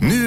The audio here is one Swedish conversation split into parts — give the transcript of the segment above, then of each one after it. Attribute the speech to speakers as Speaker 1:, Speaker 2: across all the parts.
Speaker 1: Nu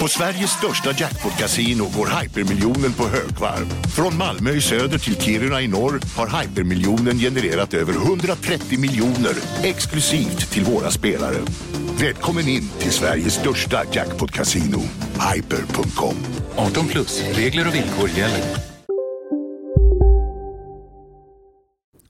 Speaker 2: På Sveriges största jackpot-kasino går hypermiljonen på högvarv. Från Malmö i söder till Kiruna i norr har hypermiljonen genererat över 130 miljoner exklusivt till våra spelare. Välkommen in till Sveriges största jackpot-kasino, hyper.com.
Speaker 3: 18 plus, regler och villkor gäller.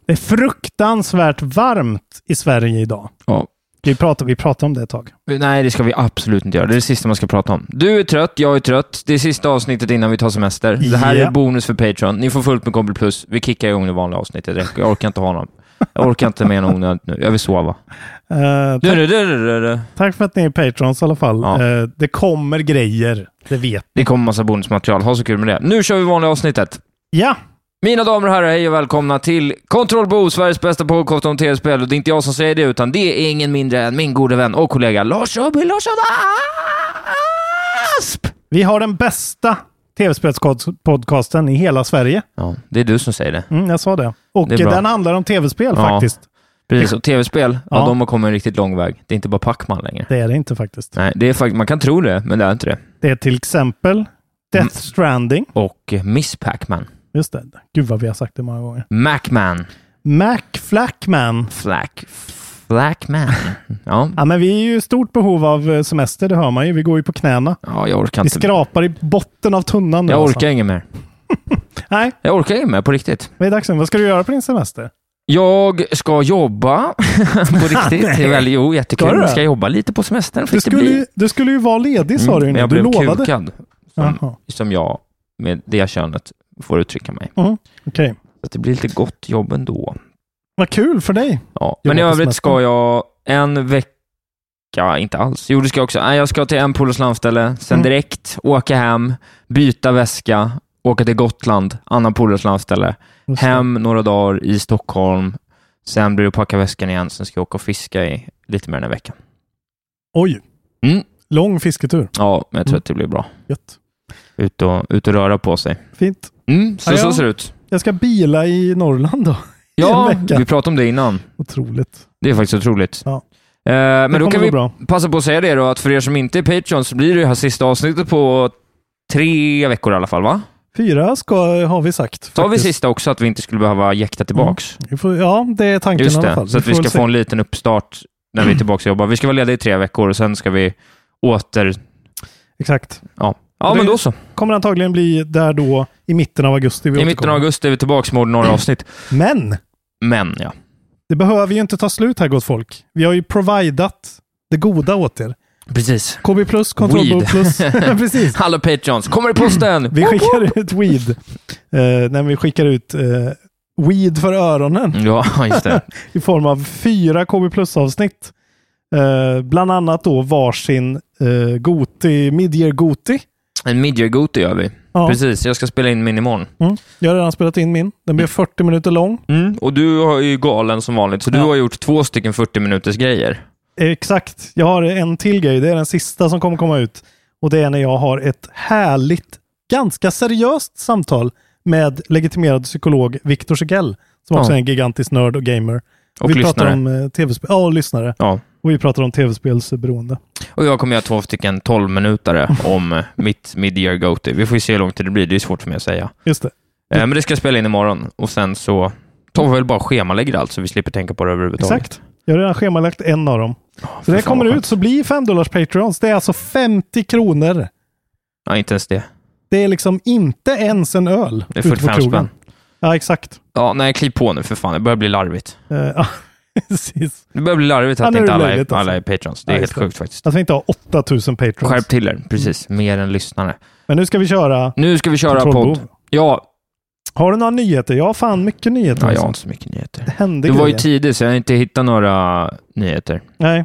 Speaker 4: Det är fruktansvärt varmt i Sverige idag.
Speaker 5: Ja.
Speaker 4: Vi pratade, vi pratade om det ett tag.
Speaker 5: Nej, det ska vi absolut inte göra. Det är det sista man ska prata om. Du är trött, jag är trött. Det är sista avsnittet innan vi tar semester. Det här
Speaker 4: Ja.
Speaker 5: är bonus för Patreon. Ni får fullt med Kombi Plus. Vi kickar igång det vanliga avsnittet direkt. Jag orkar inte ha någon. Jag orkar inte med någon onödigt nu. Jag vill sova.
Speaker 4: Eh,
Speaker 5: Du, du, du, du, du, du.
Speaker 4: tack för att ni är patrons i alla fall.
Speaker 5: Ja.
Speaker 4: Eh, det kommer grejer, det vet
Speaker 5: Det kommer massa bonusmaterial. Ha så kul med det. Nu kör vi vanliga avsnittet.
Speaker 4: Ja,
Speaker 5: Mina damer och herrar, hej och välkomna till Kontroll Bo, Sveriges bästa podcast om tv-spel. Och det är inte jag som säger det, utan det är ingen mindre än min gode vän och kollega Lars Åby Larsson Asp!
Speaker 4: vi har den bästa tv-spelspodcasten i hela Sverige.
Speaker 5: Ja, det är du som säger det.
Speaker 4: Mm, jag sa det. Och
Speaker 5: Det är bra.
Speaker 4: den handlar om tv-spel
Speaker 5: Ja.
Speaker 4: faktiskt.
Speaker 5: Precis, och tv-spel, ja.
Speaker 4: Ja.
Speaker 5: de har kommit en riktigt lång väg. Det är inte bara Pac-Man längre.
Speaker 4: Det är det inte faktiskt.
Speaker 5: Nej, det är fakt- man kan tro det, men det är inte det.
Speaker 4: Det är till exempel Death Stranding.
Speaker 5: Och eh, Miss Pac-Man.
Speaker 4: Just det. Gud vad vi har sagt det många gånger.
Speaker 5: Mac-Man.
Speaker 4: Mac Flackman.
Speaker 5: Flack. Flackman. Ja.
Speaker 4: Ja, men vi är ju i stort behov av eh, semester, det hör man ju. Vi går ju på knäna.
Speaker 5: ja, jag orkar
Speaker 4: Vi
Speaker 5: inte.
Speaker 4: skrapar i botten av tunnan nu.
Speaker 5: Jag
Speaker 4: alltså.
Speaker 5: orkar inget mer.
Speaker 4: Nej,
Speaker 5: Jag orkar inget mer, på riktigt.
Speaker 4: vad är dags nu? Vad ska du göra på din semester?
Speaker 5: Jag ska jobba på riktigt.
Speaker 4: Nej.
Speaker 5: Väl, jo, jättekul.
Speaker 4: Ska du det?
Speaker 5: Jag ska jobba lite på semestern. Fick
Speaker 4: Du skulle,
Speaker 5: det bli.
Speaker 4: ju, du skulle ju vara ledig sa du ju
Speaker 5: men
Speaker 4: nu.
Speaker 5: jag
Speaker 4: Du
Speaker 5: blev
Speaker 4: lovade.
Speaker 5: kukad, Mm.
Speaker 4: Jaha,
Speaker 5: som, som jag med det könet får uttrycka mig.
Speaker 4: okej.
Speaker 5: Så att det blir lite gott jobb ändå.
Speaker 4: Vad kul för dig.
Speaker 5: Ja.
Speaker 4: Jobba
Speaker 5: Men i
Speaker 4: på
Speaker 5: övrigt
Speaker 4: semestern.
Speaker 5: ska jag en vecka, inte alls. Jo, det ska jag också. Nej, jag ska till en polares landställe, sen
Speaker 4: Mm.
Speaker 5: direkt åka hem, byta väska, åka till Gotland, annan polares landställe,
Speaker 4: Just det.
Speaker 5: hem några dagar i Stockholm, sen blir det att packa väskan igen, sen ska jag åka och fiska i lite mer än en vecka.
Speaker 4: Oj.
Speaker 5: Mm.
Speaker 4: Lång fisketur.
Speaker 5: Ja, men jag tror
Speaker 4: Mm.
Speaker 5: att det blir bra.
Speaker 4: Gött.
Speaker 5: Ut och, ut och röra på sig.
Speaker 4: Fint.
Speaker 5: Mm, så,
Speaker 4: Ja, ja.
Speaker 5: så ser det ut.
Speaker 4: Jag ska bila i Norrland då.
Speaker 5: Ja,
Speaker 4: en vecka.
Speaker 5: vi pratade om det innan.
Speaker 4: Otroligt.
Speaker 5: Det är faktiskt otroligt.
Speaker 4: Ja.
Speaker 5: Eh,
Speaker 4: det
Speaker 5: men då
Speaker 4: kommer
Speaker 5: kan
Speaker 4: gå
Speaker 5: vi
Speaker 4: bra.
Speaker 5: passa på att säga det då, att för er som inte är Patreon så blir det ju här sista avsnittet på tre veckor i alla fall, va?
Speaker 4: Fyra ska, har vi sagt.
Speaker 5: Sa vi
Speaker 4: faktiskt.
Speaker 5: sista också att vi inte skulle behöva jäkta tillbaks?
Speaker 4: Vi får, ja, det är tanken
Speaker 5: Just
Speaker 4: i alla
Speaker 5: det,
Speaker 4: fall.
Speaker 5: så att vi
Speaker 4: får
Speaker 5: ska
Speaker 4: se.
Speaker 5: få en liten uppstart när vi är tillbaka och jobbar. Vi ska vara lediga i tre veckor och sen ska vi åter...
Speaker 4: Exakt.
Speaker 5: Ja,
Speaker 4: Och
Speaker 5: ja
Speaker 4: det-
Speaker 5: men då så.
Speaker 4: Kommer antagligen bli där då i mitten av augusti. vi
Speaker 5: I mitten av
Speaker 4: återkommer.
Speaker 5: augusti är vi tillbaka med ordinarie avsnitt.
Speaker 4: Men
Speaker 5: Men ja.
Speaker 4: det behöver ju inte ta slut här gott folk. Vi har ju providat det goda åt er.
Speaker 5: Precis.
Speaker 4: KB plus, Control
Speaker 5: Weed.
Speaker 4: plus. Precis.
Speaker 5: Hallå Patreons, kommer i posten!
Speaker 4: Vi skickar ut weed. Eh, nej, vi skickar ut eh, weed för öronen
Speaker 5: Ja, just det.
Speaker 4: i form av fyra KB plus-avsnitt. Eh, bland annat då varsin eh, Goti, Midyear Goti.
Speaker 5: En midjegote gör vi.
Speaker 4: Ja.
Speaker 5: Precis, jag ska spela in min imorgon.
Speaker 4: Mm. Jag har redan spelat in min. Den blev 40 minuter lång.
Speaker 5: Och du har ju galen som vanligt, så du
Speaker 4: Mm. Ja.
Speaker 5: har gjort två stycken 40 minuters grejer.
Speaker 4: Exakt. Jag har en till grej. Det är den sista som kommer komma ut. Och det är när jag har ett härligt, ganska seriöst samtal med legitimerad psykolog Viktor Segell, som också
Speaker 5: Ja.
Speaker 4: är en gigantisk nörd och gamer.
Speaker 5: Och
Speaker 4: vi
Speaker 5: lyssnare.
Speaker 4: pratar om eh, tv-spel. Ja, och lyssnare.
Speaker 5: Ja.
Speaker 4: Och vi pratar om tv-spelsberoende.
Speaker 5: Och jag kommer göra två stycken 12-minutare om eh, mitt mid-year goatee. Vi får ju se hur långt det blir, det är svårt för mig att säga.
Speaker 4: Just det.
Speaker 5: Eh, Men det ska jag spela in imorgon och sen så tar vi väl bara och schemalägger allt så vi slipper tänka på det överhuvudtaget.
Speaker 4: Exakt. Jag har redan schemalagt en av dem. Så
Speaker 5: fy
Speaker 4: det
Speaker 5: fan,
Speaker 4: kommer
Speaker 5: vad
Speaker 4: ut så bli 5 dollars Patreons. Det är alltså 50 kronor.
Speaker 5: Ja, inte ens det.
Speaker 4: Det är liksom inte ens en öl.
Speaker 5: Det är
Speaker 4: ute på
Speaker 5: 45
Speaker 4: krogen.
Speaker 5: spänn.
Speaker 4: Ja, exakt.
Speaker 5: Ja, nej, kliv på nu för fan. Det börjar bli larvigt.
Speaker 4: Eh, ja. Precis.
Speaker 5: Det börjar bli larvigt
Speaker 4: Ja,
Speaker 5: att
Speaker 4: nu är
Speaker 5: inte
Speaker 4: det
Speaker 5: alla,
Speaker 4: löjligt,
Speaker 5: är,
Speaker 4: alltså.
Speaker 5: alla är patrons. Det är
Speaker 4: Ja,
Speaker 5: helt
Speaker 4: just det.
Speaker 5: sjukt faktiskt.
Speaker 4: Att vi Alltså inte har 8000 patrons.
Speaker 5: Skärp till er, precis.
Speaker 4: Mm.
Speaker 5: Mer än lyssnare.
Speaker 4: Men nu ska vi köra.
Speaker 5: Nu ska vi köra
Speaker 4: Kontrollbehov.
Speaker 5: podd. Ja,
Speaker 4: Har du några nyheter? Jag har fan mycket nyheter.
Speaker 5: ja jag
Speaker 4: alltså.
Speaker 5: har inte så mycket nyheter.
Speaker 4: Det hände
Speaker 5: Du var ju
Speaker 4: grejer.
Speaker 5: tidig, så jag har inte hittat några nyheter.
Speaker 4: Nej.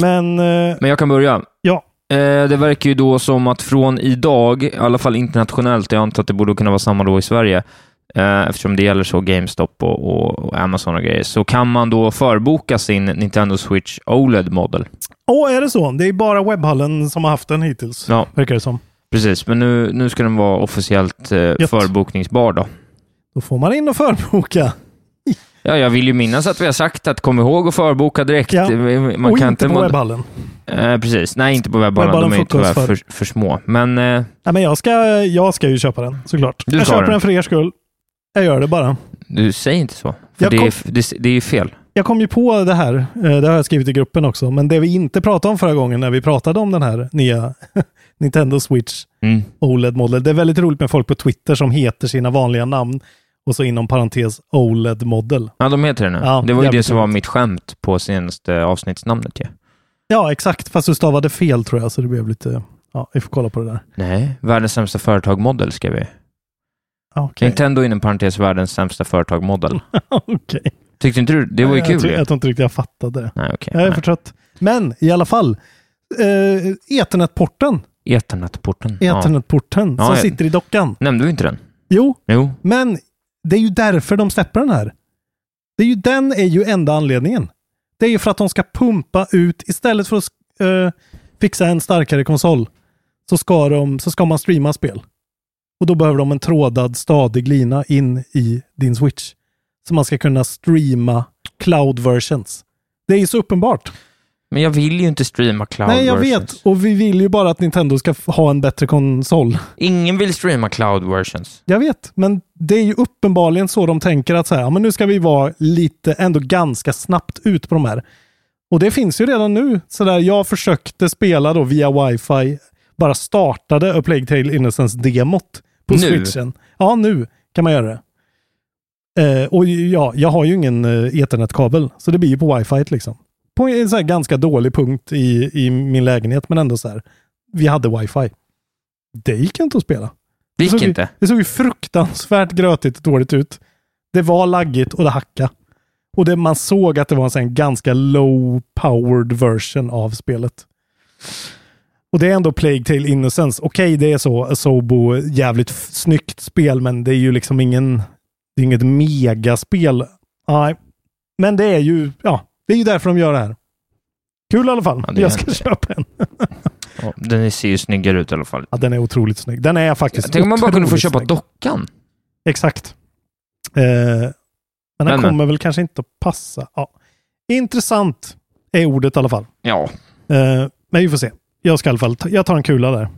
Speaker 4: Men eh,
Speaker 5: Men jag kan börja.
Speaker 4: ja,
Speaker 5: Eh, Det verkar ju då som att från idag, i alla fall internationellt, jag antar att det borde kunna vara samma då i Sverige, eh, eftersom det gäller så GameStop och, och, och Amazon och grejer, så kan man då förboka sin Nintendo Switch OLED Model.
Speaker 4: åh är det så? Det är bara webbhallen som har haft den hittills.
Speaker 5: Ja.
Speaker 4: Verkar det som.
Speaker 5: Precis, men nu, nu ska den vara officiellt eh, förbokningsbar då.
Speaker 4: Då får man in och förboka.
Speaker 5: Ja, jag vill ju minnas att vi har sagt att kom ihåg att förboka direkt.
Speaker 4: Ja.
Speaker 5: Man
Speaker 4: och
Speaker 5: kan
Speaker 4: inte på
Speaker 5: mod-
Speaker 4: webbhallen.
Speaker 5: eh, Precis, nej inte på webbhallen.
Speaker 4: Webbhallen
Speaker 5: De är ju tyvärr
Speaker 4: frukostför.
Speaker 5: för, för små. Men eh,
Speaker 4: Nej, men jag ska, jag ska ju köpa den såklart.
Speaker 5: Du
Speaker 4: jag
Speaker 5: ska
Speaker 4: köper
Speaker 5: den.
Speaker 4: den för er skull. Jag gör det bara.
Speaker 5: du, säg inte så. För
Speaker 4: Jag
Speaker 5: det,
Speaker 4: kom-
Speaker 5: är, det, det är ju fel.
Speaker 4: Jag kom ju på det här, eh, det har jag skrivit i gruppen också, men det vi inte pratade om förra gången när vi pratade om den här nya Nintendo Switch
Speaker 5: Mm.
Speaker 4: OLED Model. E Det är väldigt roligt med folk på Twitter som heter sina vanliga namn och så inom parentes E OLED Model.
Speaker 5: Ja, de heter det nu.
Speaker 4: Ja,
Speaker 5: det var ju det
Speaker 4: jävligt
Speaker 5: som var
Speaker 4: roligt.
Speaker 5: mitt skämt på senaste avsnittsnamnet ju.
Speaker 4: Ja, exakt, fast du stavade fel tror jag, så det blev lite... Ja, vi får kolla på det där.
Speaker 5: Nej, världens sämsta företag modell skrev vi.
Speaker 4: Ja, Ah, Okej.
Speaker 5: Nintendo inom parentes världens sämsta företag modell.
Speaker 4: Okej.
Speaker 5: Tyckte inte du det var ju
Speaker 4: jag,
Speaker 5: kul
Speaker 4: tror-
Speaker 5: ju?
Speaker 4: jag tror inte riktigt jag fattade det.
Speaker 5: Nej, okej.
Speaker 4: Jag är
Speaker 5: Okay.
Speaker 4: för trött. Men i alla fall, eh, Ethernet-porten,
Speaker 5: Eternetporten. Ja.
Speaker 4: Ethernet-porten
Speaker 5: Ja,
Speaker 4: som
Speaker 5: ja.
Speaker 4: sitter i dockan.
Speaker 5: Nämnde vi inte den?
Speaker 4: Jo,
Speaker 5: Jo.
Speaker 4: Men det är ju därför de släpper den här. Det är ju, den är ju enda anledningen. Det är ju för att de ska pumpa ut, istället för att eh, fixa en starkare konsol, så ska, de, så ska man streama spel. Och då behöver de en trådad stadig lina in i din switch. Så man ska kunna streama cloud versions. Det är ju så uppenbart.
Speaker 5: Men jag vill ju inte streama cloud
Speaker 4: Nej, jag
Speaker 5: versions.
Speaker 4: vet. Och vi vill ju bara att Nintendo ska f- ha en bättre konsol.
Speaker 5: Ingen vill streama cloud versions.
Speaker 4: Jag vet, men det är ju uppenbarligen så de tänker att så här, ja, men nu ska vi vara lite, ändå ganska snabbt ut på de här. Och det finns ju redan nu. Så där, jag försökte spela då via wifi, bara startade A Plague Tale Innocence-demot på
Speaker 5: Nu?
Speaker 4: switchen. Ja, nu kan man göra det. Eh, och ja, jag har ju ingen eh, ethernet-kabel, så det blir ju på wifi liksom. På en så här ganska dålig punkt i, i min lägenhet, men ändå så här. Vi hade wifi. Det gick ju inte att spela.
Speaker 5: Det gick
Speaker 4: såg ju-
Speaker 5: inte.
Speaker 4: Det såg ju fruktansvärt grötigt och dåligt ut. Det var laggigt och det hackade. Och det, man såg att det var en sån här ganska low-powered version av spelet. Och det är ändå Plague Tale Innocence. Okej, det är så Sobo, jävligt f- snyggt spel, men det är ju liksom ingen... Det är inget megaspel. Nej. Men det är ju, ja, det är ju därför de gör det här. Kul i alla fall.
Speaker 5: Ja, det är
Speaker 4: jag ska
Speaker 5: inte-
Speaker 4: köpa en.
Speaker 5: Ja, den ser ju snyggare ut i alla fall.
Speaker 4: Ja, den är otroligt snygg. Den är faktiskt
Speaker 5: Tänk om man bara kunde få
Speaker 4: otroligt
Speaker 5: köpa
Speaker 4: snygg.
Speaker 5: dockan.
Speaker 4: Exakt. Eh, men
Speaker 5: Men, eh.
Speaker 4: den
Speaker 5: men.
Speaker 4: kommer väl kanske inte att passa. Ja. Intressant är ordet i alla fall.
Speaker 5: Ja.
Speaker 4: Eh, men vi får se. Jag ska i alla fall ta, jag tar en kula där.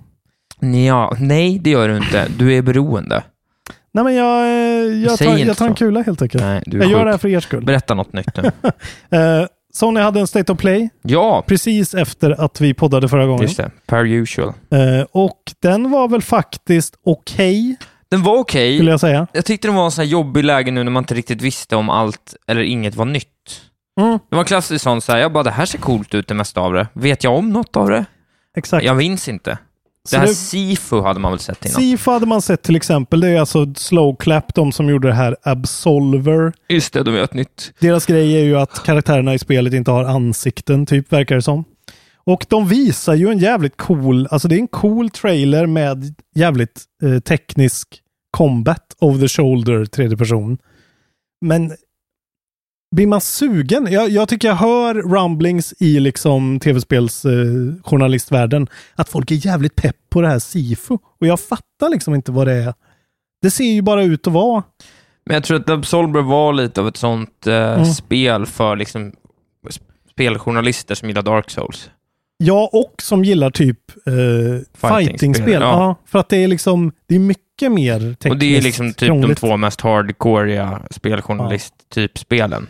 Speaker 5: ja. Nej, det gör du inte. Du är beroende.
Speaker 4: Nej, men jag, eh, jag,
Speaker 5: Säg
Speaker 4: tar,
Speaker 5: inte
Speaker 4: jag tar en
Speaker 5: så.
Speaker 4: kula helt enkelt.
Speaker 5: Nej, du är
Speaker 4: jag gör
Speaker 5: sjuk.
Speaker 4: det här för er skull.
Speaker 5: Berätta något nytt nu.
Speaker 4: Eh, Sony hade en State of Play
Speaker 5: Ja,
Speaker 4: precis efter att vi poddade förra gången.
Speaker 5: just det. Per usual.
Speaker 4: Eh, och den var väl faktiskt okej,
Speaker 5: Den var okej.
Speaker 4: skulle jag säga.
Speaker 5: Jag tyckte den var en sån här jobbig läge nu när man inte riktigt visste om allt eller inget var nytt.
Speaker 4: Mm.
Speaker 5: Det var en klassisk sån så här, jag bara det här ser coolt ut det mesta av det. Vet jag om något av det?
Speaker 4: Exakt.
Speaker 5: Jag minns inte.
Speaker 4: Så
Speaker 5: Det här
Speaker 4: det-
Speaker 5: Sifu hade man väl sett innan?
Speaker 4: Sifu hade man sett till exempel. Det är alltså Slow Clap, de som gjorde det här Absolver.
Speaker 5: Just det, de gör ett nytt.
Speaker 4: Deras grej är ju att karaktärerna i spelet inte har ansikten, typ, verkar det som. Och de visar ju en jävligt cool, alltså det är en cool trailer med jävligt eh, teknisk combat of the shoulder, tredje person. Men blir man sugen? Jag, jag tycker jag hör rumblings i liksom tv-spels eh, journalistvärlden att folk är jävligt pepp på det här SIFO. Och jag fattar liksom inte vad det är. Det ser ju bara ut att vara
Speaker 5: Men jag tror att Absolver var lite av ett sånt eh,
Speaker 4: Mm.
Speaker 5: spel för liksom sp- speljournalister som gillar Dark Souls.
Speaker 4: Ja, och som gillar typ eh, fightingspel.
Speaker 5: ja.
Speaker 4: Ja. för att det är liksom, det är mycket mer tekniskt
Speaker 5: Och det är liksom typ
Speaker 4: krångligt.
Speaker 5: de två mest hardcoreiga speljournalist-typspelen.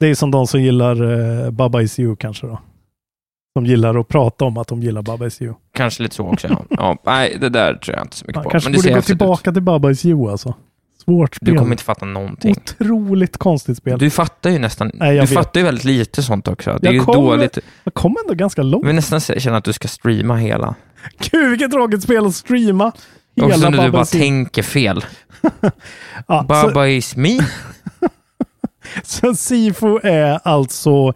Speaker 4: Det är som de som gillar eh, Baba Is You kanske då. De gillar att prata om att de gillar Baba Is You.
Speaker 5: Kanske lite så också. ja. ja. Nej, det där tror jag inte så mycket
Speaker 4: Man
Speaker 5: på.
Speaker 4: kanske
Speaker 5: Men det
Speaker 4: borde
Speaker 5: ser
Speaker 4: gå
Speaker 5: häftigt ut.
Speaker 4: tillbaka till Baba Is You alltså. Svårt spel.
Speaker 5: Du kommer inte fatta någonting.
Speaker 4: Otroligt konstigt spel.
Speaker 5: Du fattar ju nästan...
Speaker 4: Nej, jag
Speaker 5: du
Speaker 4: vet.
Speaker 5: fattar ju väldigt lite sånt också. Det är
Speaker 4: Jag
Speaker 5: ju
Speaker 4: kommer-
Speaker 5: dåligt.
Speaker 4: Jag kom ändå ganska långt.
Speaker 5: Jag vill nästan se- känna att du ska streama hela.
Speaker 4: Gud, vilket tråkigt spel att streama.
Speaker 5: Och sen när du bara
Speaker 4: Babbels-
Speaker 5: tänker fel.
Speaker 4: ja, så-
Speaker 5: Baba is me.
Speaker 4: Så Sifo är alltså,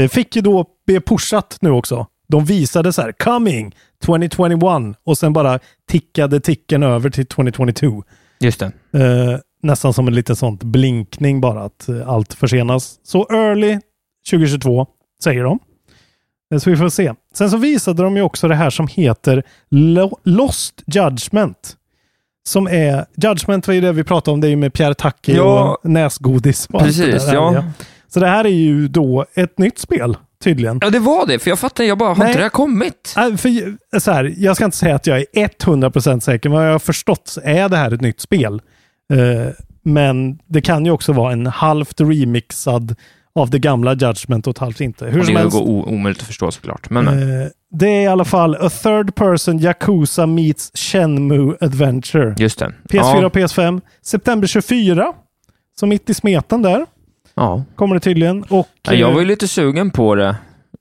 Speaker 4: eh, fick ju då bli pushat nu också. De visade så här, coming 2021 och sen bara tickade ticken över till 2022.
Speaker 5: Just det.
Speaker 4: Eh, nästan som en liten sånt blinkning bara att eh, allt försenas. Så early 2022 säger de. Eh, Så vi får se. Sen så visade de ju också det här som heter Lo- Lost Judgment. Som är, Judgment var ju det vi pratade om, det är ju med Pierre Tacke
Speaker 5: Ja.
Speaker 4: och näsgodis. och allt det
Speaker 5: Precis,
Speaker 4: där,
Speaker 5: ja.
Speaker 4: Så det här är ju då ett nytt spel tydligen.
Speaker 5: Ja, det var det. För jag fattar, jag bara, har
Speaker 4: Nej.
Speaker 5: inte det här kommit?
Speaker 4: Äh, För, eh, så här, jag ska inte säga att jag är 100% säker, men vad jag har förstått så är det här ett nytt spel. Eh, men det kan ju också vara en halvt remixad av det gamla Judgment och ett halvt inte. Hur
Speaker 5: Och det
Speaker 4: som
Speaker 5: går
Speaker 4: helst,
Speaker 5: o- omöjligt att förstå såklart. Men, men.
Speaker 4: eh, det är i alla fall A Third Person Yakuza Meets Shenmue Adventure.
Speaker 5: just det.
Speaker 4: PS4
Speaker 5: Ja.
Speaker 4: och PS5. September 24, så mitt i smeten där,
Speaker 5: ja.
Speaker 4: kommer det tydligen. Och,
Speaker 5: Ja, jag
Speaker 4: eh,
Speaker 5: var ju lite sugen på det.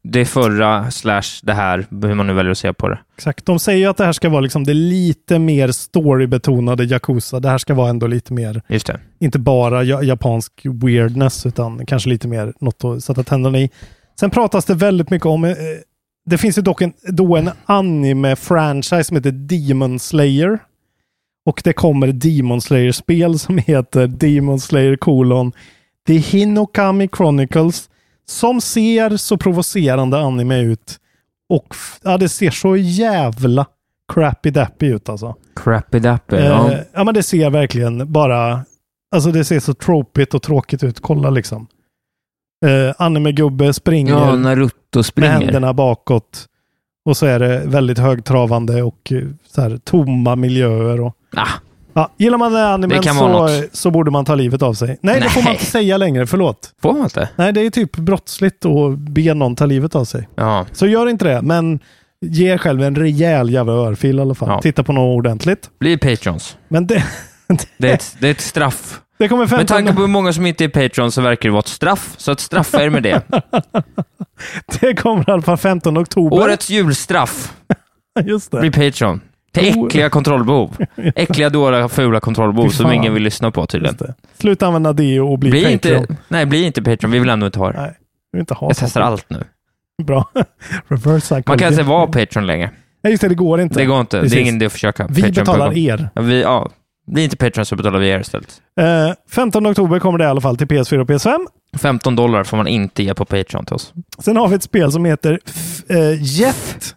Speaker 5: Det förra slash det här, hur man nu väljer att se på det.
Speaker 4: Exakt. De säger ju att det här ska vara liksom det lite mer storybetonade Yakuza. Det här ska vara ändå lite mer,
Speaker 5: Just det.
Speaker 4: inte bara ja- japansk weirdness, utan kanske lite mer något att sätta tänderna i. Sen pratas det väldigt mycket om, eh, det finns ju dock en, då en anime-franchise som heter Demon Slayer. Och det kommer Demon Slayer-spel som heter Demon Slayer kolon The Hinokami Chronicles. Som ser så provocerande anime ut. Och f- ja, det ser så jävla crappy dappy ut alltså.
Speaker 5: Crappy Dappy.
Speaker 4: Ja.
Speaker 5: ja.
Speaker 4: Eh, ja men det ser verkligen bara, alltså det ser så tropigt och tråkigt ut. Kolla liksom. Eh, Anime-gubbe springer
Speaker 5: ja, Naruto
Speaker 4: med
Speaker 5: springer.
Speaker 4: händerna bakåt. Och så är det väldigt högtravande och eh, så här, tomma miljöer. Och,
Speaker 5: Ah,
Speaker 4: ja, gillar man den här animen
Speaker 5: Det kan vara
Speaker 4: så, eh,
Speaker 5: något.
Speaker 4: så borde man ta livet av sig. Nej, det får man
Speaker 5: Nej.
Speaker 4: inte säga längre. Förlåt.
Speaker 5: får man inte?
Speaker 4: Nej, det är typ brottsligt att be någon ta livet av sig.
Speaker 5: Ja.
Speaker 4: Så gör inte det, men ge själv en rejäl jävla örfil i alla fall.
Speaker 5: Ja.
Speaker 4: Titta på något ordentligt.
Speaker 5: Bli patrons.
Speaker 4: Men det,
Speaker 5: Det är ett, det är ett straff.
Speaker 4: det kommer
Speaker 5: Med
Speaker 4: 15,
Speaker 5: tanke på hur många som inte är patrons så verkar det vara ett straff. Så att straffa er med det.
Speaker 4: det kommer i alla fall 15 oktober.
Speaker 5: Årets julstraff.
Speaker 4: Just det.
Speaker 5: Bli patron. Till äckliga kontrollbehov. Äckliga, dåliga, fula kontrollbehov
Speaker 4: Oh. Fy
Speaker 5: som
Speaker 4: fan.
Speaker 5: ingen vill lyssna på tydligen.
Speaker 4: Just det. Sluta använda deo och bli,
Speaker 5: Bli
Speaker 4: Patreon.
Speaker 5: inte, nej, bli inte patron. Vi vill ändå inte ha det.
Speaker 4: Nej, vi vill inte ha
Speaker 5: Jag
Speaker 4: sånt.
Speaker 5: testar allt nu.
Speaker 4: Bra. Reverse psychology.
Speaker 5: Man kan inte vara patron längre.
Speaker 4: Nej, just det. Det går inte.
Speaker 5: Det går inte. Det
Speaker 4: Precis.
Speaker 5: är ingen idé att försöka.
Speaker 4: Vi
Speaker 5: Patreon.com.
Speaker 4: betalar er.
Speaker 5: Ja, vi, ja. Bli inte Patreon så betalar vi er istället.
Speaker 4: Eh, 15 oktober kommer det i alla fall till PS4 och PS5.
Speaker 5: 15 dollar får man inte ge på Patreon till oss.
Speaker 4: Sen har vi ett spel som heter F- eh, Jet.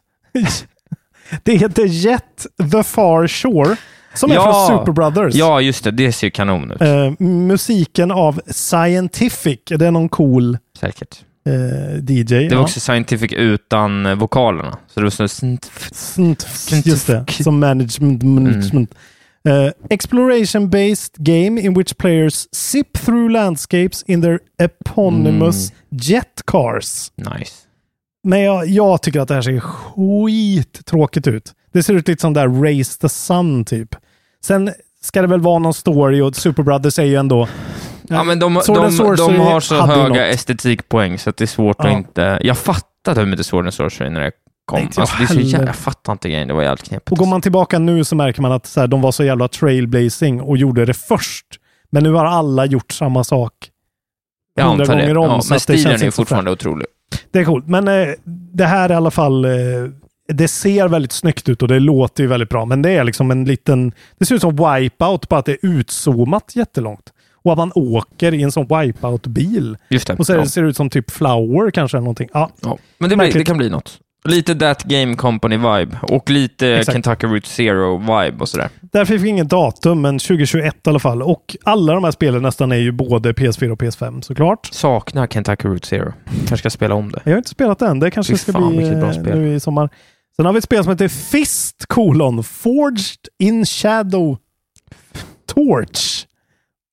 Speaker 4: det heter Jet the Far Shore. Som är
Speaker 5: Ja.
Speaker 4: från Super Brothers.
Speaker 5: Ja, just det. Det ser ju kanon ut.
Speaker 4: Eh, musiken av Scientific. Det är någon cool
Speaker 5: Säkert.
Speaker 4: eh, DJ.
Speaker 5: Det var också scientific utan eh, vokalerna. Så det var sån...
Speaker 4: Just det. Mm. Som management. management. Eh, Exploration-based game in which players sip through landscapes in their eponymous jet cars.
Speaker 5: Nice.
Speaker 4: Men jag, jag tycker att det här ser skittråkigt ut. Det ser ut lite som där Race the Sun typ. Sen ska det väl vara någon story och Super Brothers är ju ändå...
Speaker 5: Ja, men de,
Speaker 4: Sword and
Speaker 5: de, de
Speaker 4: Sorcery
Speaker 5: har så
Speaker 4: hade ju
Speaker 5: höga
Speaker 4: något.
Speaker 5: estetikpoäng så att det är svårt
Speaker 4: Ja.
Speaker 5: att inte... Jag fattade hur mycket Sword and Sorcery när det kom.
Speaker 4: Nej, inte jag
Speaker 5: alltså, det är så
Speaker 4: heller.
Speaker 5: jävla... Jag fattar inte grejen. Det var jävligt knepigt.
Speaker 4: Och går man tillbaka nu så märker man att så här, de var så jävla trailblazing och gjorde det först. Men nu har alla gjort samma sak.
Speaker 5: Jag
Speaker 4: hundra
Speaker 5: antar det.
Speaker 4: gånger om,
Speaker 5: ja,
Speaker 4: så
Speaker 5: men
Speaker 4: att det
Speaker 5: stilen
Speaker 4: känns
Speaker 5: är ju
Speaker 4: inte så
Speaker 5: fortfarande otrolig.
Speaker 4: Det är coolt. Men eh, det här är i alla fall... Eh, det ser väldigt snyggt ut och det låter ju väldigt bra. Men det är liksom en liten... Det ser ut som wipeout, bara att det är utzoomat jättelångt. Och att man åker i en sån wipeout-bil.
Speaker 5: Just det.
Speaker 4: Och så är det-
Speaker 5: Ja.
Speaker 4: ser det ut som typ flower kanske. eller Någonting. Ja,
Speaker 5: Ja, men det, blir, det
Speaker 4: Märkligt.
Speaker 5: kan bli något. Lite That Game Company-vibe och lite
Speaker 4: Exakt.
Speaker 5: Kentucky Route Zero-vibe och sådär.
Speaker 4: Därför fick vi inget datum, men 2021 i alla fall. Och alla de här spelen nästan är ju både PS4 och PS5 såklart.
Speaker 5: Saknar Kentucky Route Zero. Kanske ska spela om det.
Speaker 4: Jag har inte spelat den. Det kanske
Speaker 5: Fy
Speaker 4: ska
Speaker 5: fan,
Speaker 4: bli
Speaker 5: vilket bra
Speaker 4: eh,
Speaker 5: spel.
Speaker 4: nu i sommar. Sen har vi ett spel som heter Fist colon Forged in Shadow Torch.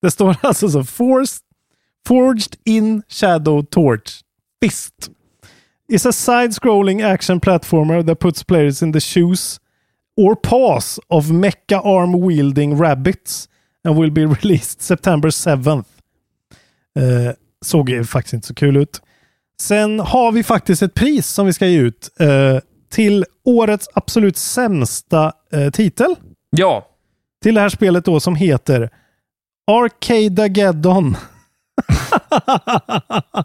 Speaker 4: Det står alltså så. Forced, forged in Shadow Torch. Fist. It's a side-scrolling action platformer that puts players in the shoes or paws of mecha arm-wielding rabbits and will be released September 7th. Eh, såg ju faktiskt inte så kul ut. Sen har vi faktiskt ett pris som vi ska ge ut eh, till årets absolut sämsta eh, titel
Speaker 5: Ja,
Speaker 4: till det här spelet då som heter Arcadeageddon.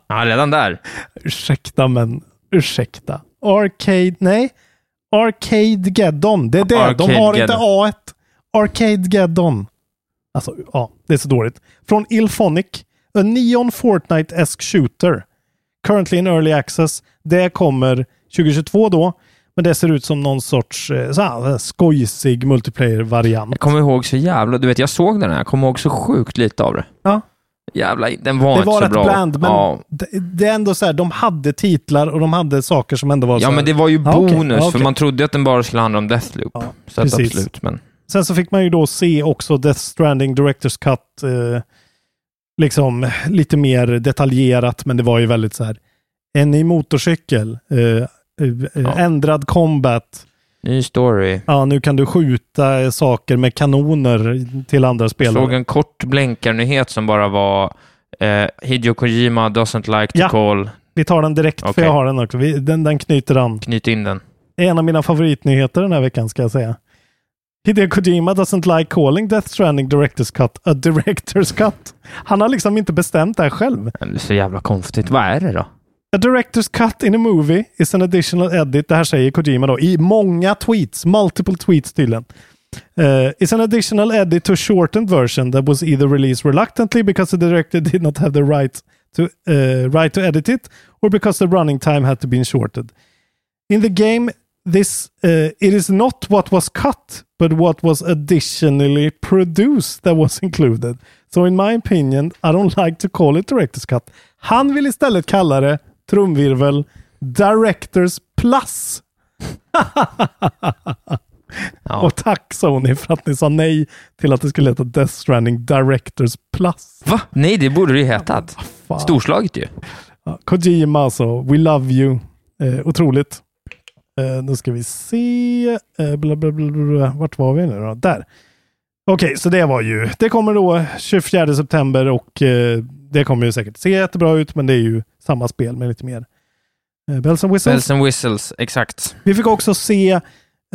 Speaker 5: ja redan där.
Speaker 4: ursäkta, men ursäkta. Arcade, nej. Arcadegeddon. Det är det. De har inte A1. Arcadegeddon. Alltså, ja, det är så dåligt. Från Ilphonic. A Neon Fortnite-esk shooter. Currently in early access. Det kommer 2022 då. Men det ser ut som någon sorts eh, så här, skojsig multiplayer-variant.
Speaker 5: Jag kommer ihåg så jävla... Du vet, jag såg den här. Jag kommer ihåg så sjukt lite av det.
Speaker 4: Ja.
Speaker 5: Jävla, den var
Speaker 4: Det
Speaker 5: inte
Speaker 4: var
Speaker 5: så
Speaker 4: rätt
Speaker 5: bra.
Speaker 4: bland, men
Speaker 5: ja.
Speaker 4: det, det är ändå så här, de hade titlar och de hade saker som ändå var så
Speaker 5: ja,
Speaker 4: här.
Speaker 5: men det var ju
Speaker 4: Ja, okej,
Speaker 5: bonus,
Speaker 4: ja,
Speaker 5: för
Speaker 4: okej.
Speaker 5: man trodde att den bara skulle handla om Deathloop.
Speaker 4: Ja,
Speaker 5: så att
Speaker 4: precis.
Speaker 5: absolut, men...
Speaker 4: Sen så fick man ju då se också Death Stranding Directors Cut, eh, liksom lite mer detaljerat, men det var ju väldigt så här, en ny motorcykel, eh, eh,
Speaker 5: Ja.
Speaker 4: ändrad combat,
Speaker 5: Ny story.
Speaker 4: ja nu kan du skjuta eh, saker med kanoner till andra
Speaker 5: Jag såg
Speaker 4: spelare.
Speaker 5: en kort blänkarnyhet som bara var eh, Hideo Kojima doesn't like to
Speaker 4: Ja.
Speaker 5: call.
Speaker 4: Vi tar den direkt, för
Speaker 5: Okej.
Speaker 4: jag har den också. Vi, den, den knyter an.
Speaker 5: Knyt in den.
Speaker 4: en av mina favoritnyheter den här veckan ska jag säga. Hideo Kojima doesn't like calling Death Stranding Directors Cut a Directors Cut. Han har liksom inte bestämt det här själv.
Speaker 5: Men Det är så jävla konstigt. Vad är det då?
Speaker 4: A Directors Cut in a movie is an additional edit. Det här säger Kojima då i många tweets, multiple tweets tydligen. Uh, is an additional edit to a shortened version that was either released reluctantly because the director did not have the right to, eh, right to edit it or because the running time had to be shorted. In the game, this uh, it is not what was cut, but what was additionally produced that was included. So in my opinion, I don't like to call it director's cut. Han vill istället kalla det, trumvirvel, directors plus.
Speaker 5: Ja.
Speaker 4: Och tack Sony för att ni sa nej till att det skulle heta Death Stranding Directors plus.
Speaker 5: Va? Nej, det borde det ju hetat.
Speaker 4: Fan.
Speaker 5: Storslaget ju.
Speaker 4: Ja, Kojima alltså, we love you. Eh, otroligt. Eh, nu ska vi se. Eh, bla, bla, bla, bla, bla. Vart var vi nu då? Där. Okej, så det var ju. Det kommer då 24 september och eh, det kommer ju säkert se jättebra ut, men det är ju samma spel med lite mer eh, bells and whistles.
Speaker 5: Bells and whistles, exakt.
Speaker 4: Vi fick också se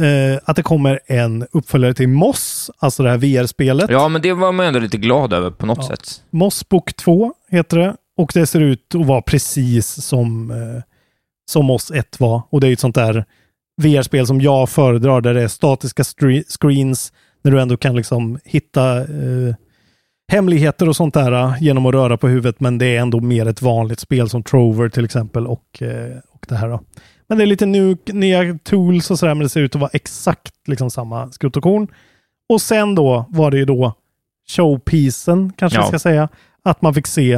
Speaker 4: eh, att det kommer en uppföljare till Moss, alltså det här VR-spelet.
Speaker 5: Ja, men det var man ändå lite glad över på något
Speaker 4: Ja.
Speaker 5: sätt.
Speaker 4: Moss Bok 2 heter det och det ser ut att vara precis som, eh, som Moss 1 var. Och det är ju ett sånt där VR-spel som jag föredrar där det är statiska stre- screens när du ändå kan liksom hitta eh, hemligheter och sånt där eh, genom att röra på huvudet. Men det är ändå mer ett vanligt spel som Trover till exempel och, eh, och det här då. Men det är lite nu, nya tools och sådär, men det ser ut att vara exakt liksom samma skrot och korn. Och sen då var det ju då showpiecen, kanske
Speaker 5: Ja.
Speaker 4: vi ska säga, att man fick se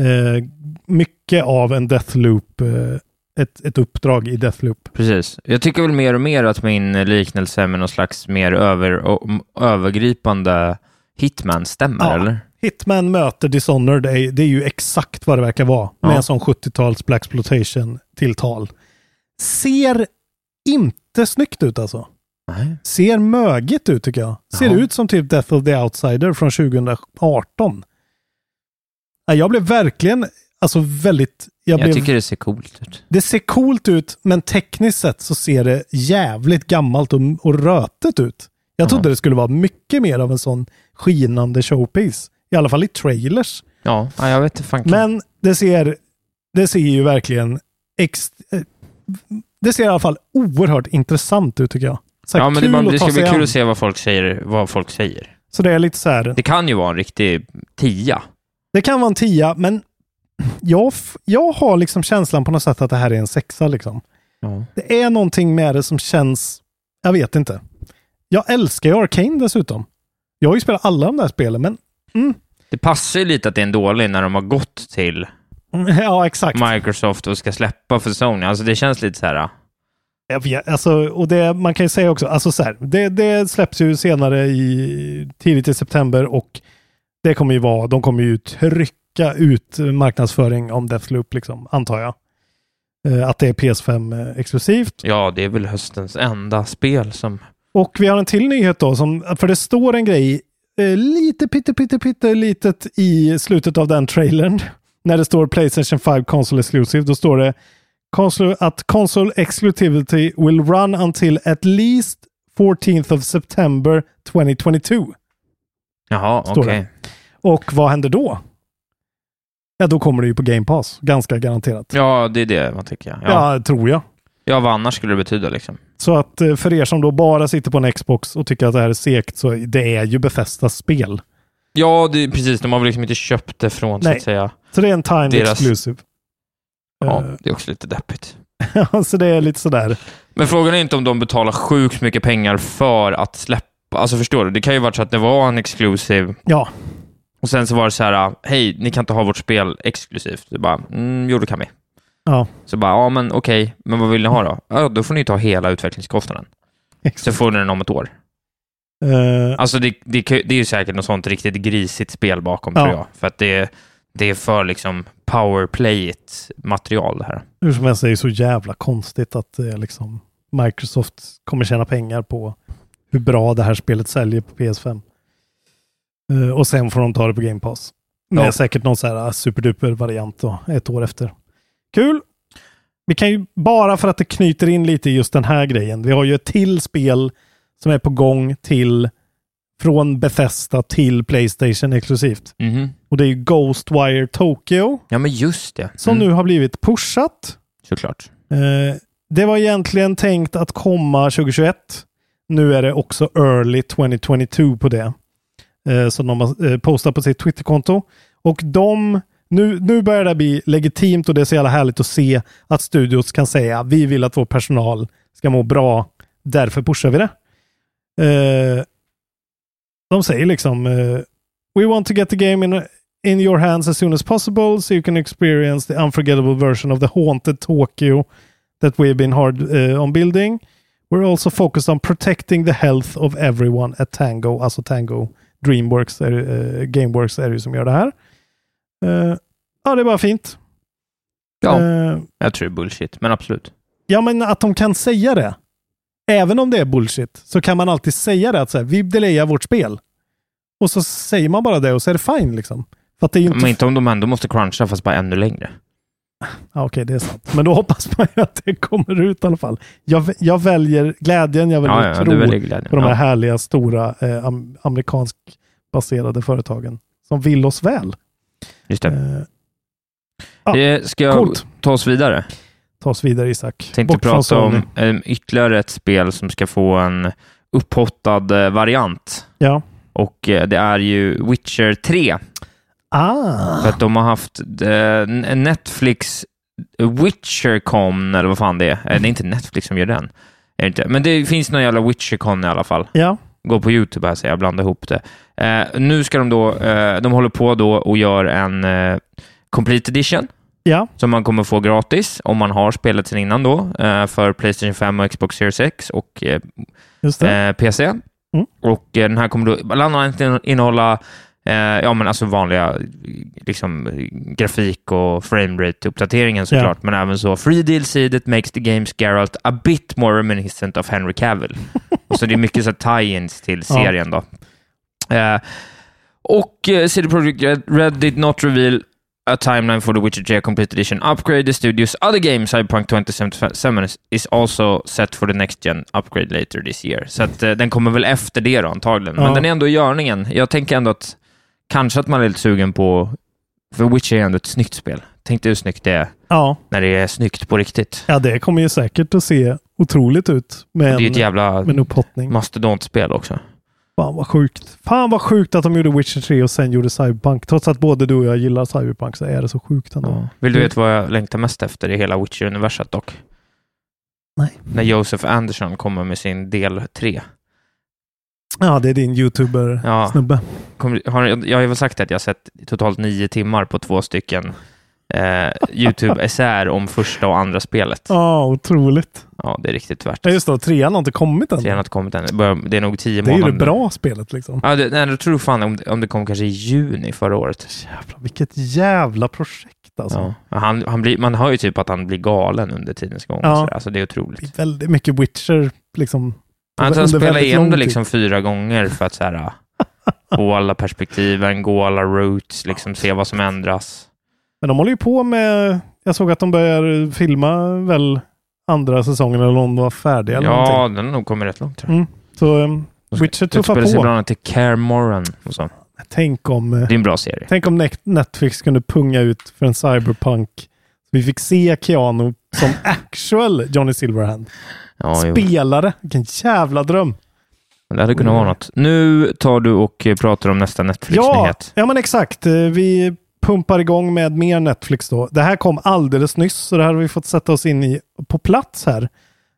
Speaker 4: eh, mycket av en Deathloop, eh, ett, ett uppdrag i Deathloop.
Speaker 5: Precis. Jag tycker väl mer och mer att min liknelse med någon slags mer över, o- övergripande hitman stämmer,
Speaker 4: Ja.
Speaker 5: eller?
Speaker 4: Hitman möter Dishonored, det är, det är ju exakt vad det verkar vara. Med
Speaker 5: Ja.
Speaker 4: en sån 70-tals blaxploitation tilltal Ser inte snyggt ut alltså.
Speaker 5: Nej.
Speaker 4: Ser mögigt ut tycker jag. Ser
Speaker 5: Ja.
Speaker 4: ut som typ Death of the Outsider från 2018. Ja, Jag blev verkligen, alltså väldigt, jag,
Speaker 5: Jag,
Speaker 4: blev,
Speaker 5: tycker det ser coolt ut.
Speaker 4: det ser coolt ut, men tekniskt sett så ser det jävligt gammalt och, och rötet ut. Jag trodde
Speaker 5: Ja.
Speaker 4: det skulle vara mycket mer av en sån skinande showpiece. I alla fall i trailers.
Speaker 5: Ja, ja jag vet inte fan.
Speaker 4: Men det ser, det ser ju verkligen... Ex, eh, det ser i alla fall oerhört intressant ut tycker jag. Så här
Speaker 5: ja, men det,
Speaker 4: kul
Speaker 5: man, det
Speaker 4: ta
Speaker 5: ska bli
Speaker 4: sig
Speaker 5: kul
Speaker 4: an.
Speaker 5: att se vad folk säger. Vad folk säger.
Speaker 4: Så det är lite så här,
Speaker 5: Det kan ju vara en riktig tia.
Speaker 4: det kan vara en tia, men jag, f- jag har liksom känslan på något sätt att det här är en sexa. Liksom.
Speaker 5: Ja.
Speaker 4: Det är någonting med det som känns, jag vet inte. Jag älskar ju Arcane dessutom. Jag har ju spelat alla de där spelen, men
Speaker 5: Det passar ju lite att det är en dålig när de har gått till
Speaker 4: ja, exakt.
Speaker 5: Microsoft och ska släppa för Sony. Alltså det känns lite så här...
Speaker 4: Jag vet, alltså, och det, man kan ju säga också, alltså så här, det, det släpps ju senare i tidigt i september och det kommer ju vara, de kommer ju trycka ut marknadsföring om Deathloop, liksom, antar jag. Eh, Att det är PS5 eh, exklusivt.
Speaker 5: Ja, det är väl höstens enda spel som...
Speaker 4: Och vi har en till nyhet då, som, för det står en grej eh, lite pytte pytte pytte litet i slutet av den trailern. När det står Playstation 5 Console Exclusive, då står det console, att Console Exclusivity will run until at least 14th of September 2022.
Speaker 5: Jaha,
Speaker 4: Står
Speaker 5: okej.
Speaker 4: det. Och vad händer då? Ja, då kommer det ju på Game Pass, ganska garanterat.
Speaker 5: Ja, det är det man tycker. Ja. Ja.
Speaker 4: Ja, tror jag.
Speaker 5: vad annars skulle det betyda liksom?
Speaker 4: Så att eh, för er som då bara sitter på en Xbox och tycker att det här är segt, så det är ju Befästas spel.
Speaker 5: Ja, det, precis. De har väl liksom inte köpt det från, så
Speaker 4: Nej.
Speaker 5: att säga.
Speaker 4: Så det är en timed
Speaker 5: Deras-
Speaker 4: exclusive.
Speaker 5: Ja,
Speaker 4: Eh,
Speaker 5: det är också lite deppigt.
Speaker 4: Ja, Eh, så det är lite sådär.
Speaker 5: Men frågan är inte om de betalar sjukt mycket pengar för att släppa. Alltså förstår du? Det kan ju vara så att det var en exclusive
Speaker 4: Ja,
Speaker 5: och sen så var det så här, äh, hej, ni kan inte ha vårt spel exklusivt. Det bara, mm, jo det kan vi.
Speaker 4: ja
Speaker 5: Så bara, ja men okej, men vad vill ni ha då? Ja, då får ni ta hela utvecklingskostnaden. Så
Speaker 4: exakt.
Speaker 5: får ni den om ett år.
Speaker 4: Eh,
Speaker 5: Alltså det, det, kan- det är ju säkert något sånt riktigt grisigt spel bakom
Speaker 4: Ja.
Speaker 5: tror jag. För att det, det är för liksom powerplayigt material det här.
Speaker 4: hur som helst, det är ju så jävla konstigt att eh, liksom, Microsoft kommer tjäna pengar på hur bra det här spelet säljer på PS5. Eh, och sen får de ta det på Game Pass. Med
Speaker 5: Ja.
Speaker 4: säkert någon så här eh, superduper variant då, ett år efter. Kul! Vi kan ju, bara för att det knyter in lite i just den här grejen, vi har ju ett till spel som är på gång till från Bethesda till Playstation exklusivt. Och det är ju Ghostwire Tokyo
Speaker 5: Ja men just det.
Speaker 4: som
Speaker 5: Mm,
Speaker 4: nu har blivit pushat.
Speaker 5: Såklart.
Speaker 4: Eh, det var egentligen tänkt att komma 2021. Nu är det också early 2022 på det. Eh, som de har eh, postat på sitt Twitterkonto. Och de, nu, nu börjar det bli legitimt och det är så jävla härligt att se att studios kan säga vi vill att vår personal ska må bra. Därför pushar vi det. Eh, de säger liksom eh, We want to get the game in, in your hands as soon as possible so you can experience the unforgettable version of the haunted Tokyo that we've been hard eh, on building. We're also focused on protecting the health of everyone at Tango, alltså Tango Dreamworks, är, eh, Gameworks är det ju som gör det här. Eh, ja, det är bara fint.
Speaker 5: Ja,
Speaker 4: Eh,
Speaker 5: jag tror det är bullshit, men absolut.
Speaker 4: Ja, men att de kan säga det. Även om det är bullshit så kan man alltid säga det att så här, vi delayar vårt spel. Och så säger man bara det och så är det fine liksom. För att det är ju inte...
Speaker 5: Men inte om de ändå måste cruncha, fast bara ännu längre.
Speaker 4: Ja, okej, det är sant. Men då hoppas man ju att det kommer ut i alla fall. Jag, jag väljer glädjen, jag väljer
Speaker 5: Ja, ja,
Speaker 4: tro
Speaker 5: det är väldigt glädjande.
Speaker 4: på de här
Speaker 5: Ja.
Speaker 4: härliga, stora eh, am- amerikanskbaserade företagen som vill oss väl.
Speaker 5: Just det.
Speaker 4: Eh, ja,
Speaker 5: det ska jag
Speaker 4: coolt.
Speaker 5: ta oss vidare.
Speaker 4: ta oss vidare Isak.
Speaker 5: Tänkte
Speaker 4: från
Speaker 5: prata om
Speaker 4: Sony.
Speaker 5: eh, ytterligare ett spel som ska få en upphottad eh, variant.
Speaker 4: Ja.
Speaker 5: Och eh, det är ju Witcher 3.
Speaker 4: Ah,
Speaker 5: För att de har haft eh, Netflix Witchercon, eller vad fan det är. Eh, Det är inte Netflix som gör den. Är det inte? Men det finns någon jävla Witchercon i alla fall.
Speaker 4: ja.
Speaker 5: Gå på YouTube här, så jag blandar ihop det. Eh, nu ska de då, eh, de håller på då och gör en eh, Complete Edition
Speaker 4: Ja.
Speaker 5: som man kommer få gratis om man har spelet sedan innan då eh, för Playstation 5 och Xbox Series X och eh,
Speaker 4: Just det. Mm.
Speaker 5: eh, PC. Och eh, den här kommer då bland annat in- innehålla eh, ja, men alltså vanliga eh, liksom, eh, grafik och framerate-uppdateringen såklart, men även så Free DLC that makes the games Geralt a bit more reminiscent of Henry Cavill. och så det är mycket så här tie-ins till
Speaker 4: Ja.
Speaker 5: serien då. Eh, och eh, CD Projekt Red, Red did not reveal a timeline for the Witcher 3 Complete Edition upgrade. The studio's other game, Cyberpunk 2077, is- is also set for the next gen upgrade later this year. Så att, eh, den kommer väl efter det då, antagligen.
Speaker 4: Ja.
Speaker 5: Men den är ändå i görningen. Jag tänker ändå att kanske att man är lite sugen på... För Witcher är ändå ett snyggt spel. Tänk dig hur snyggt det är
Speaker 4: Ja.
Speaker 5: när det är snyggt på riktigt.
Speaker 4: ja, det kommer ju säkert att se otroligt ut med,
Speaker 5: Det är ju ett
Speaker 4: en,
Speaker 5: jävla
Speaker 4: med en upphottning.
Speaker 5: mastodontspel också.
Speaker 4: Fan vad sjukt. Fan vad sjukt att de gjorde Witcher 3 och sen gjorde Cyberpunk. Trots att både du och jag gillar Cyberpunk så är det så sjukt ändå.
Speaker 5: Vill du veta vad jag längtar mest efter i hela Witcher-universet dock?
Speaker 4: Nej.
Speaker 5: När Joseph Anderson kommer med sin del 3.
Speaker 4: Ja, det är din
Speaker 5: Ja.
Speaker 4: YouTuber-snubbe.
Speaker 5: Kommer, har, jag har ju väl sagt att jag har sett totalt nio timmar på två stycken eh, YouTube-essäer om första och andra spelet.
Speaker 4: Ja, otroligt.
Speaker 5: Ja, det är riktigt värt
Speaker 4: Ja,
Speaker 5: det.
Speaker 4: just det. Trean har inte kommit än.
Speaker 5: Det har inte kommit än. Det börjar- Det är nog tio
Speaker 4: Det är
Speaker 5: månader.
Speaker 4: ju det bra spelet liksom.
Speaker 5: Ja, det, nej, jag tror fan om, det- om det kom kanske i juni förra året.
Speaker 4: Jävlar, vilket jävla projekt alltså.
Speaker 5: Ja. Han, han blir, man hör ju typ att han blir galen under tidens gång.
Speaker 4: Ja.
Speaker 5: Ja. Alltså, det är otroligt.
Speaker 4: Det är väldigt mycket Witcher liksom.
Speaker 5: Han,
Speaker 4: Under
Speaker 5: han spelar
Speaker 4: väldigt lång
Speaker 5: igenom det
Speaker 4: tid.
Speaker 5: liksom fyra gånger för att så här, Få alla perspektiven, gå alla routes, liksom se vad som ändras.
Speaker 4: Men de håller ju på med... Jag såg att de börjar filma väl andra säsongen eller om de var färdiga eller någonting.
Speaker 5: Ja, den har nog kommit rätt långt. tror jag.
Speaker 4: Mm. Så um, Witcher tuffar
Speaker 5: Utspelar sig bland
Speaker 4: på.
Speaker 5: annat i Care Moran och så.
Speaker 4: Tänk om, eh,
Speaker 5: Det är en bra serie.
Speaker 4: tänk om Net- Netflix kunde punga ut för en cyberpunk. Vi fick se Keanu som actual Johnny Silverhand.
Speaker 5: Ja, jo.
Speaker 4: Spelare. Vilken jävla dröm.
Speaker 5: Men Det hade kunnat vara något. Nu tar du och eh, pratar om nästa
Speaker 4: Ja,
Speaker 5: Netflix-nyhet.
Speaker 4: ja, men exakt. Eh, Vi pumpar igång med mer Netflix då. Det här kom alldeles nyss, så det här har vi fått sätta oss in i på plats här.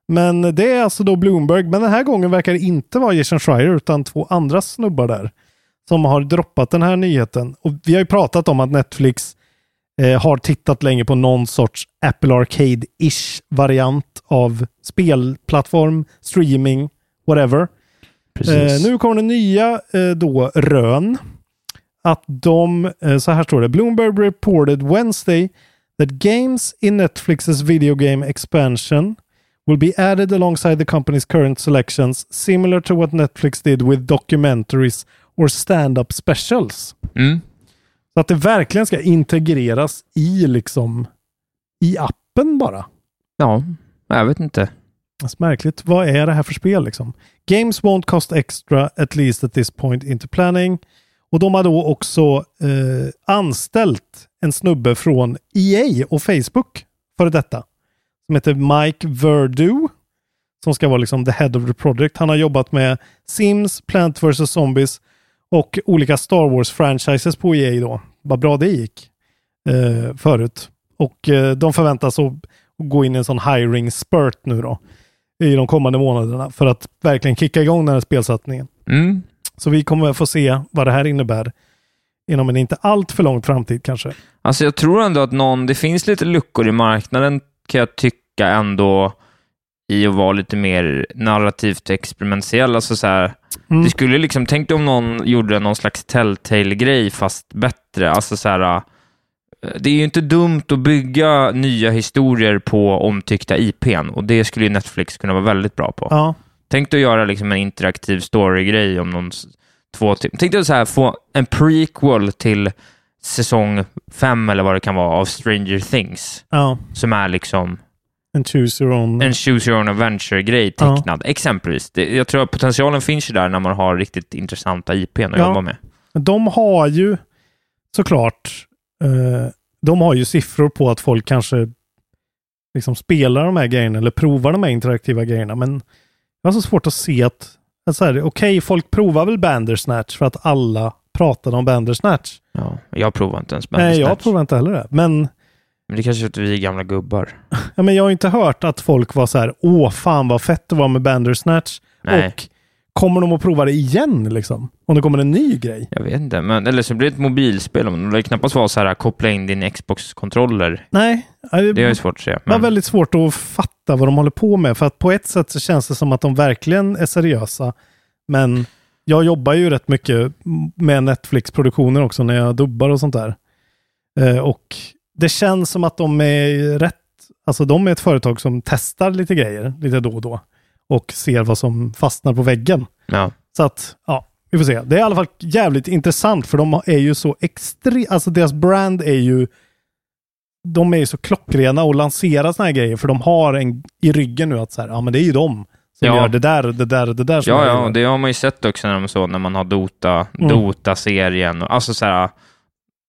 Speaker 4: Men det är alltså då Bloomberg, men den här gången verkar det inte vara Jason Schreier utan två andra snubbar där som har droppat den här nyheten. Och vi har ju pratat om att Netflix eh, har tittat länge på någon sorts Apple Arcade-ish variant av spelplattform, streaming, whatever. Eh,
Speaker 5: Precis.
Speaker 4: nu kommer det nya eh, då rön. Att de, eh, så här står det, Bloomberg reported Wednesday that games in Netflix's video game expansion will be added alongside the company's current selections similar to what Netflix did with documentaries or stand-up specials.
Speaker 5: Mm.
Speaker 4: Så att det verkligen ska integreras i liksom i appen bara.
Speaker 5: Ja, jag vet inte.
Speaker 4: Det är Alltså, märkligt. Vad är det här för spel liksom? Games won't cost extra at least at this point into planning. Och de har då också eh, anställt en snubbe från EA och Facebook för detta. Som heter Mike Verdu. Som ska vara liksom the head of the project. Han har jobbat med Sims, Plant vs. Zombies och olika Star Wars-franchises på EA då. Vad bra det gick eh, förut. Och eh, de förväntas att gå in i en sån hiring spurt nu då i de kommande månaderna för att verkligen kicka igång den här spelsatsningen.
Speaker 5: Mm.
Speaker 4: Så vi kommer få se vad det här innebär inom en inte allt för lång framtid kanske.
Speaker 5: Alltså jag tror ändå att någon, det finns lite luckor i marknaden kan jag tycka ändå i att vara lite mer narrativt experimentell. Alltså så här,
Speaker 4: Mm.
Speaker 5: Det skulle liksom, tänk dig om någon gjorde någon slags Telltale-grej fast bättre. Alltså så här, eh, det är ju inte dumt att bygga nya historier på omtyckta IPn och det skulle ju Netflix kunna vara väldigt bra på.
Speaker 4: Ja,
Speaker 5: Tänk dig att göra liksom en interaktiv story-grej om någon s- två tim- Tänk dig att så här, få en prequel till säsong fem eller vad det kan vara av Stranger Things
Speaker 4: ja.
Speaker 5: som är liksom
Speaker 4: Mm. En choose your own.
Speaker 5: en choose your own adventure-grej
Speaker 4: Ja.
Speaker 5: tecknad. Exempelvis. Det, jag tror att potentialen finns ju där när man har riktigt intressanta IPn att
Speaker 4: Ja.
Speaker 5: jobba med.
Speaker 4: De har ju såklart, eh, de har ju siffror på att folk kanske liksom spelar de här grejerna eller provar de här interaktiva grejerna. Men jag har så svårt att se att, att så här, okej, folk provar väl Bandersnatch för att alla pratade om Bandersnatch.
Speaker 5: Ja, jag provar inte ens
Speaker 4: Nej, jag
Speaker 5: Bandersnatch.
Speaker 4: provar inte heller det. Men
Speaker 5: Men det kanske är att vi är gamla gubbar.
Speaker 4: Ja, men jag har inte hört att folk var så här, åh fan vad fett det var med Bandersnatch.
Speaker 5: Nej.
Speaker 4: Och kommer de att prova det igen liksom? Om det kommer en ny grej?
Speaker 5: Jag vet inte. Men, eller så blir det ett mobilspel. Men det lär ju knappast vara så här, koppla in din Xbox-kontroller.
Speaker 4: Nej, Mm. ja, det,
Speaker 5: Det är ju svårt att se.
Speaker 4: var
Speaker 5: men-
Speaker 4: väldigt svårt att fatta vad de håller på med. För att på ett sätt så känns det som att de verkligen är seriösa. Men jag jobbar ju rätt mycket med Netflix-produktioner också när jag dubbar och sånt där. Eh, och det känns som att de är rätt, alltså de är ett företag som testar lite grejer lite då och då. Och ser vad som fastnar på väggen.
Speaker 5: ja.
Speaker 4: Så att, ja, vi får se. Det är i alla fall jävligt intressant för de är ju så extremt, alltså deras brand är ju, de är ju så klockrena och lanserar såna här grejer för de har en i ryggen nu att så här, ja men det är ju de som
Speaker 5: Ja.
Speaker 4: gör det där, det där, det där. som
Speaker 5: Ja,
Speaker 4: jag
Speaker 5: ja,
Speaker 4: gör.
Speaker 5: och det har man ju sett också när, de så, när man har Dota,
Speaker 4: Mm.
Speaker 5: Dota-serien. Alltså så här, de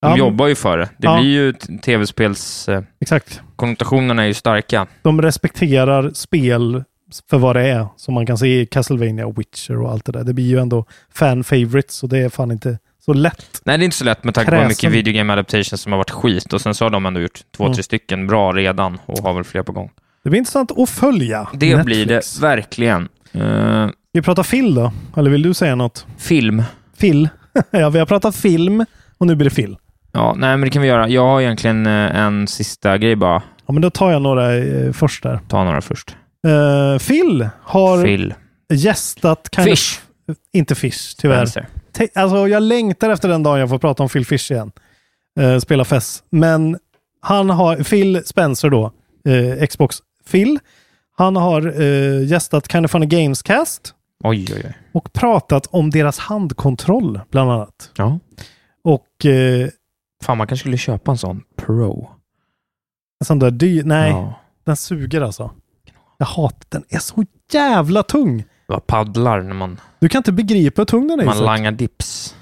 Speaker 4: Ja, men-
Speaker 5: jobbar ju för det. Det
Speaker 4: Ja.
Speaker 5: blir ju t- tv-spels... eh,
Speaker 4: Exakt.
Speaker 5: Konnotationerna är ju starka.
Speaker 4: De respekterar spel för vad det är, som man kan se i Castlevania och Witcher och allt det där. Det blir ju ändå fan favorites och det är fan inte så lätt.
Speaker 5: Nej, det är inte så lätt med tanke på hur mycket
Speaker 4: Kräsen.
Speaker 5: video game adaptations som har varit skit och sen så har de ändå gjort två,
Speaker 4: Mm.
Speaker 5: tre stycken bra redan och har väl fler på gång.
Speaker 4: Det blir intressant att följa
Speaker 5: Det
Speaker 4: Netflix.
Speaker 5: blir det verkligen. Eh,
Speaker 4: Vi pratar Phil då, eller vill du säga något?
Speaker 5: film.
Speaker 4: Phil. ja, vi har pratat film och nu blir det Phil.
Speaker 5: Ja, nej, men det kan vi göra. Jag har egentligen eh, en sista grej bara.
Speaker 4: Ja, men då tar jag några eh, först där.
Speaker 5: Ta några först.
Speaker 4: Eh, Phil har
Speaker 5: Phil.
Speaker 4: gästat... Kind of-
Speaker 5: Fish.
Speaker 4: inte Fish, tyvärr.
Speaker 5: Spencer.
Speaker 4: Te- alltså, jag längtar efter den dagen jag får prata om Phil Fish igen. Eh, spela fest. Men han har, Phil Spencer då, eh, Xbox Phil, han har eh, gästat Kind of Funny Gamescast
Speaker 5: Oj, oj, oj.
Speaker 4: och pratat om deras handkontroll bland annat.
Speaker 5: Ja.
Speaker 4: Och eh,
Speaker 5: Fan, man kanske skulle köpa en sån Pro.
Speaker 4: en sån där dyr... Nej,
Speaker 5: Ja.
Speaker 4: den suger alltså. Jag hatar den. är så jävla tung.
Speaker 5: Det var paddlar när man,
Speaker 4: Du kan inte begripa hur tung den är.
Speaker 5: man
Speaker 4: Isak.
Speaker 5: langar dips.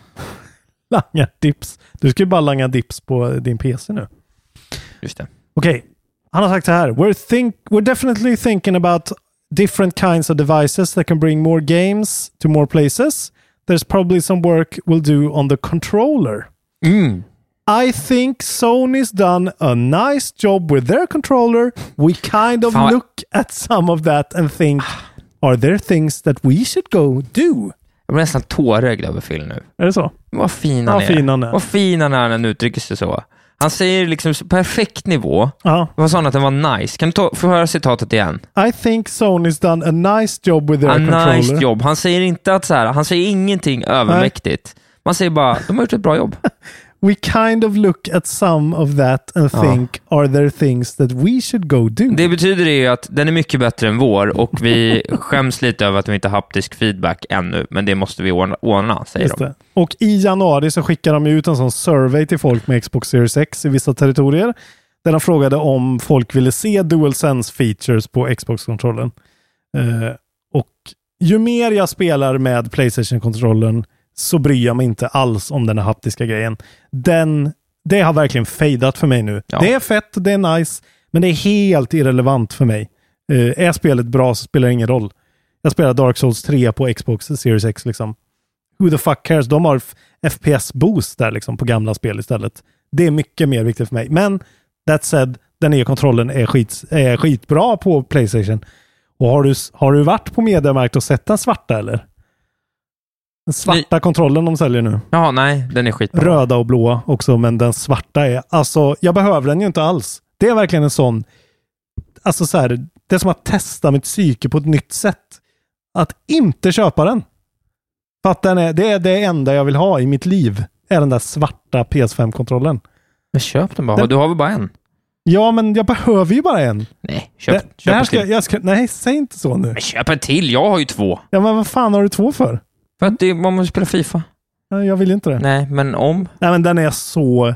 Speaker 4: Langa dips. Du ska ju bara langa dips på din PC nu.
Speaker 5: Just det.
Speaker 4: Okej, han har sagt så här. We're, think, we're definitely thinking about different kinds of devices that can bring more games to more places. There's probably some work we'll do on the controller.
Speaker 5: Mm.
Speaker 4: I think Sony's done a nice job with their controller. We kind of
Speaker 5: Fan vad-
Speaker 4: look at some of that and think, are there things that we should go do?
Speaker 5: Jag blir nästan tårögd över Phil nu.
Speaker 4: Är det så?
Speaker 5: Vad fin han
Speaker 4: Vad
Speaker 5: är.
Speaker 4: fin han är.
Speaker 5: Vad fin han är när han uttrycker sig så. Han säger liksom så perfekt nivå.
Speaker 4: Ja.
Speaker 5: Vad sa han att den var nice? Kan du ta, få höra citatet igen?
Speaker 4: Uh, I think Sony's done a nice job with their
Speaker 5: A
Speaker 4: controller.
Speaker 5: nice job. Han säger inte att så här, han säger ingenting övermäktigt. Man säger bara, de har gjort ett bra jobb.
Speaker 4: We kind of look at some of that and
Speaker 5: Ja.
Speaker 4: think, are there things that we should go do?
Speaker 5: Det betyder det ju att den är mycket bättre än vår och vi skäms lite över att vi inte har haptisk feedback ännu, men det måste vi ordna, ordna säger
Speaker 4: Just
Speaker 5: de.
Speaker 4: det. Och i januari så skickade de ju ut en sån survey till folk med Xbox Series X i vissa territorier. Där de frågade om folk ville se DualSense features på Xbox-kontrollen. Eh, och ju mer jag spelar med Playstation-kontrollen så bryr jag mig inte alls om den här haptiska grejen. Den, det har verkligen fejdat för mig nu.
Speaker 5: Ja.
Speaker 4: Det är fett, det är nice, men det är helt irrelevant för mig. Eh, är spelet bra så spelar det ingen roll. Jag spelar Dark Souls 3 på Xbox Series X liksom. Who the fuck cares? De har f- FPS-boost där liksom på gamla spel istället. Det är mycket mer viktigt för mig. Men that said, den nya kontrollen är, skit, är skitbra på Playstation. Och har du, s- har du varit på Mediamarkt och sett den svarta eller? Den svarta kontrollen de säljer nu.
Speaker 5: Ja, nej, den är skitbra.
Speaker 4: Röda och blåa också, men den svarta är... Alltså, jag behöver den ju inte alls. Det är verkligen en sån... Alltså så här, det är som att testa mitt psyke på ett nytt sätt. Att inte köpa den. För att den är, det är det enda jag vill ha i mitt liv. Är den där svarta PS5-kontrollen.
Speaker 5: Men köp den bara.
Speaker 4: Den-
Speaker 5: Du har väl bara en?
Speaker 4: Ja, men jag behöver ju bara en.
Speaker 5: Nej, köp,
Speaker 4: Det,
Speaker 5: köp,
Speaker 4: det här
Speaker 5: en
Speaker 4: ska,
Speaker 5: till.
Speaker 4: jag ska, nej, säg inte så nu.
Speaker 5: Men köp en till. Jag har ju två.
Speaker 4: Ja, men vad fan har du två för?
Speaker 5: För att det, man måste spela Fifa.
Speaker 4: Ja, Jag vill inte det. Nej,
Speaker 5: Nej, men om?
Speaker 4: men den är så...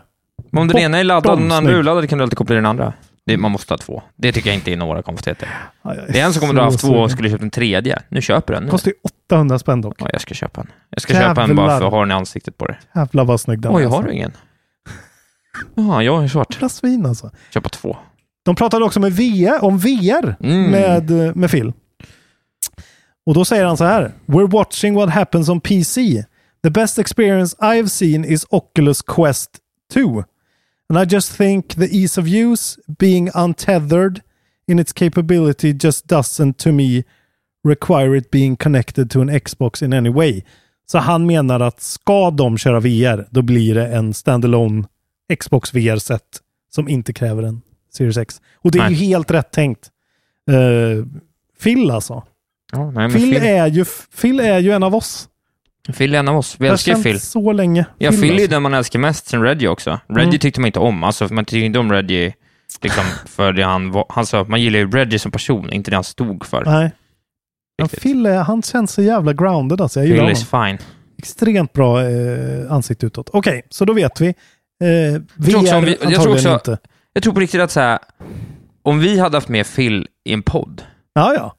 Speaker 5: Men Om den
Speaker 4: Bortom
Speaker 5: ena är laddad och den andra är
Speaker 4: snygg.
Speaker 5: urladdad kan du alltid koppla i den andra. Det, man måste ha två. Det tycker jag inte är några konstigheter.
Speaker 4: Ja, jag
Speaker 5: Det är en som kommer att ha
Speaker 4: så
Speaker 5: haft två och
Speaker 4: sugen.
Speaker 5: skulle köpt en tredje. Nu köper den. Nu.
Speaker 4: Kostar ju 800 spänn dock.
Speaker 5: Ja, jag ska köpa en. Jag ska köpa en bara
Speaker 4: Jävlar.
Speaker 5: för att ha den i ansiktet på dig.
Speaker 4: Jävlar vad snygg den
Speaker 5: Oj,
Speaker 4: är. alltså.
Speaker 5: har du ingen? Ja, jag är svart.
Speaker 4: Jävla svin alltså.
Speaker 5: Köpa två.
Speaker 4: De pratade också med VR, om VR
Speaker 5: Mm.
Speaker 4: med, med Phil. Och då säger han så här. We're watching what happens on PC. The best experience I've seen is Oculus Quest 2. And I just think the ease of use, being untethered in its capability just doesn't to me require it being connected to an Xbox in any way. Så han menar att ska de köra VR, då blir det en standalone Xbox VR-set som inte kräver en Series X. Och det är
Speaker 5: Nej.
Speaker 4: ju helt rätt tänkt. Uh, Phil alltså.
Speaker 5: Ja, nej, men
Speaker 4: Phil,
Speaker 5: Phil, är...
Speaker 4: Är ju, Phil är ju en av oss.
Speaker 5: Phil är en av oss. Vi
Speaker 4: Jag har
Speaker 5: älskar
Speaker 4: känt
Speaker 5: Phil.
Speaker 4: så länge.
Speaker 5: Ja, Phil är ju
Speaker 4: alltså.
Speaker 5: den man älskar mest sen Reggie också. Reggie
Speaker 4: Mm.
Speaker 5: tyckte man inte om. Alltså, för man tyckte inte om Reggie liksom, för det han var. Han sa att man gillar ju Reggie som person, inte det han stod för.
Speaker 4: Nej. Men
Speaker 5: riktigt.
Speaker 4: Phil är, han känns så jävla grounded alltså. Jag gillar
Speaker 5: Phil
Speaker 4: honom.
Speaker 5: is fine.
Speaker 4: Extremt bra eh, ansikte utåt. Okej, så då vet vi. Eh, vi
Speaker 5: tror också
Speaker 4: är
Speaker 5: om vi- jag tror
Speaker 4: antagligen
Speaker 5: också-
Speaker 4: inte.
Speaker 5: Jag tror på riktigt att så här, om vi hade haft med Phil i en podd,
Speaker 4: Ja, ja.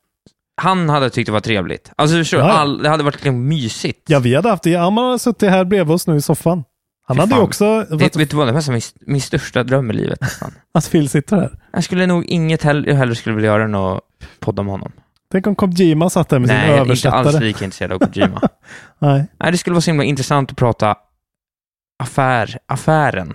Speaker 5: han hade tyckt det var trevligt. Alltså, förstår du?
Speaker 4: Ja, ja.
Speaker 5: All, det hade varit liksom mysigt.
Speaker 4: Ja, vi hade haft det. Ja, man hade suttit här bredvid oss nu i soffan. Han
Speaker 5: Fy
Speaker 4: hade ju
Speaker 5: fan.
Speaker 4: också...
Speaker 5: det, vet du vad, det var så här min, min största dröm i livet nästan.
Speaker 4: Att Phil sitter här.
Speaker 5: Jag skulle nog inget hell- jag hellre skulle vilja göra än att podda med honom.
Speaker 4: Tänk om Kojima satt där med
Speaker 5: Nej,
Speaker 4: sin
Speaker 5: jag är inte alls
Speaker 4: översättare.
Speaker 5: lika intresserad av Kojima.
Speaker 4: Nej.
Speaker 5: Nej, det skulle vara så himla intressant att prata affär, affären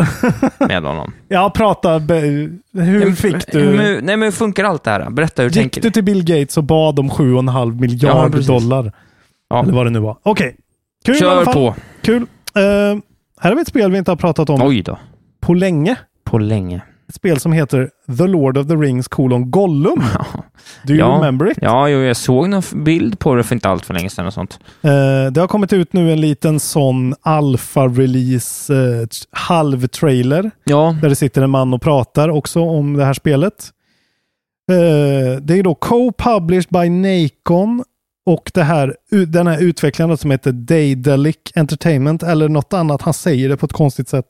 Speaker 5: med honom.
Speaker 4: Ja, prata. be- Hur
Speaker 5: Men-
Speaker 4: fick du...
Speaker 5: Hur, nej, men hur funkar allt det här? Berätta hur du
Speaker 4: Gick
Speaker 5: tänker.
Speaker 4: du till Bill Gates och bad om 7,5
Speaker 5: Ja,
Speaker 4: miljard
Speaker 5: precis.
Speaker 4: dollar?
Speaker 5: Ja.
Speaker 4: Eller vad det nu var. Okej. Kul i alla
Speaker 5: Kör
Speaker 4: fall.
Speaker 5: på.
Speaker 4: Kul. Eh, här har vi ett spel vi inte har pratat om
Speaker 5: Oj då.
Speaker 4: på länge.
Speaker 5: På länge.
Speaker 4: Ett spel som heter The Lord of the Rings colon Gollum. Do you
Speaker 5: Ja.
Speaker 4: remember it?
Speaker 5: Ja, jo, jag såg någon f- bild på det för inte allt för länge sedan och sånt.
Speaker 4: Eh, det har kommit ut nu en liten sån alfa-release eh, t- halv-trailer
Speaker 5: Ja.
Speaker 4: där det sitter en man och pratar också om det här spelet. Eh, det är då co-published by Nacon Och det här, den här utvecklaren som heter Daedalic Entertainment eller något annat, han säger det på ett konstigt sätt.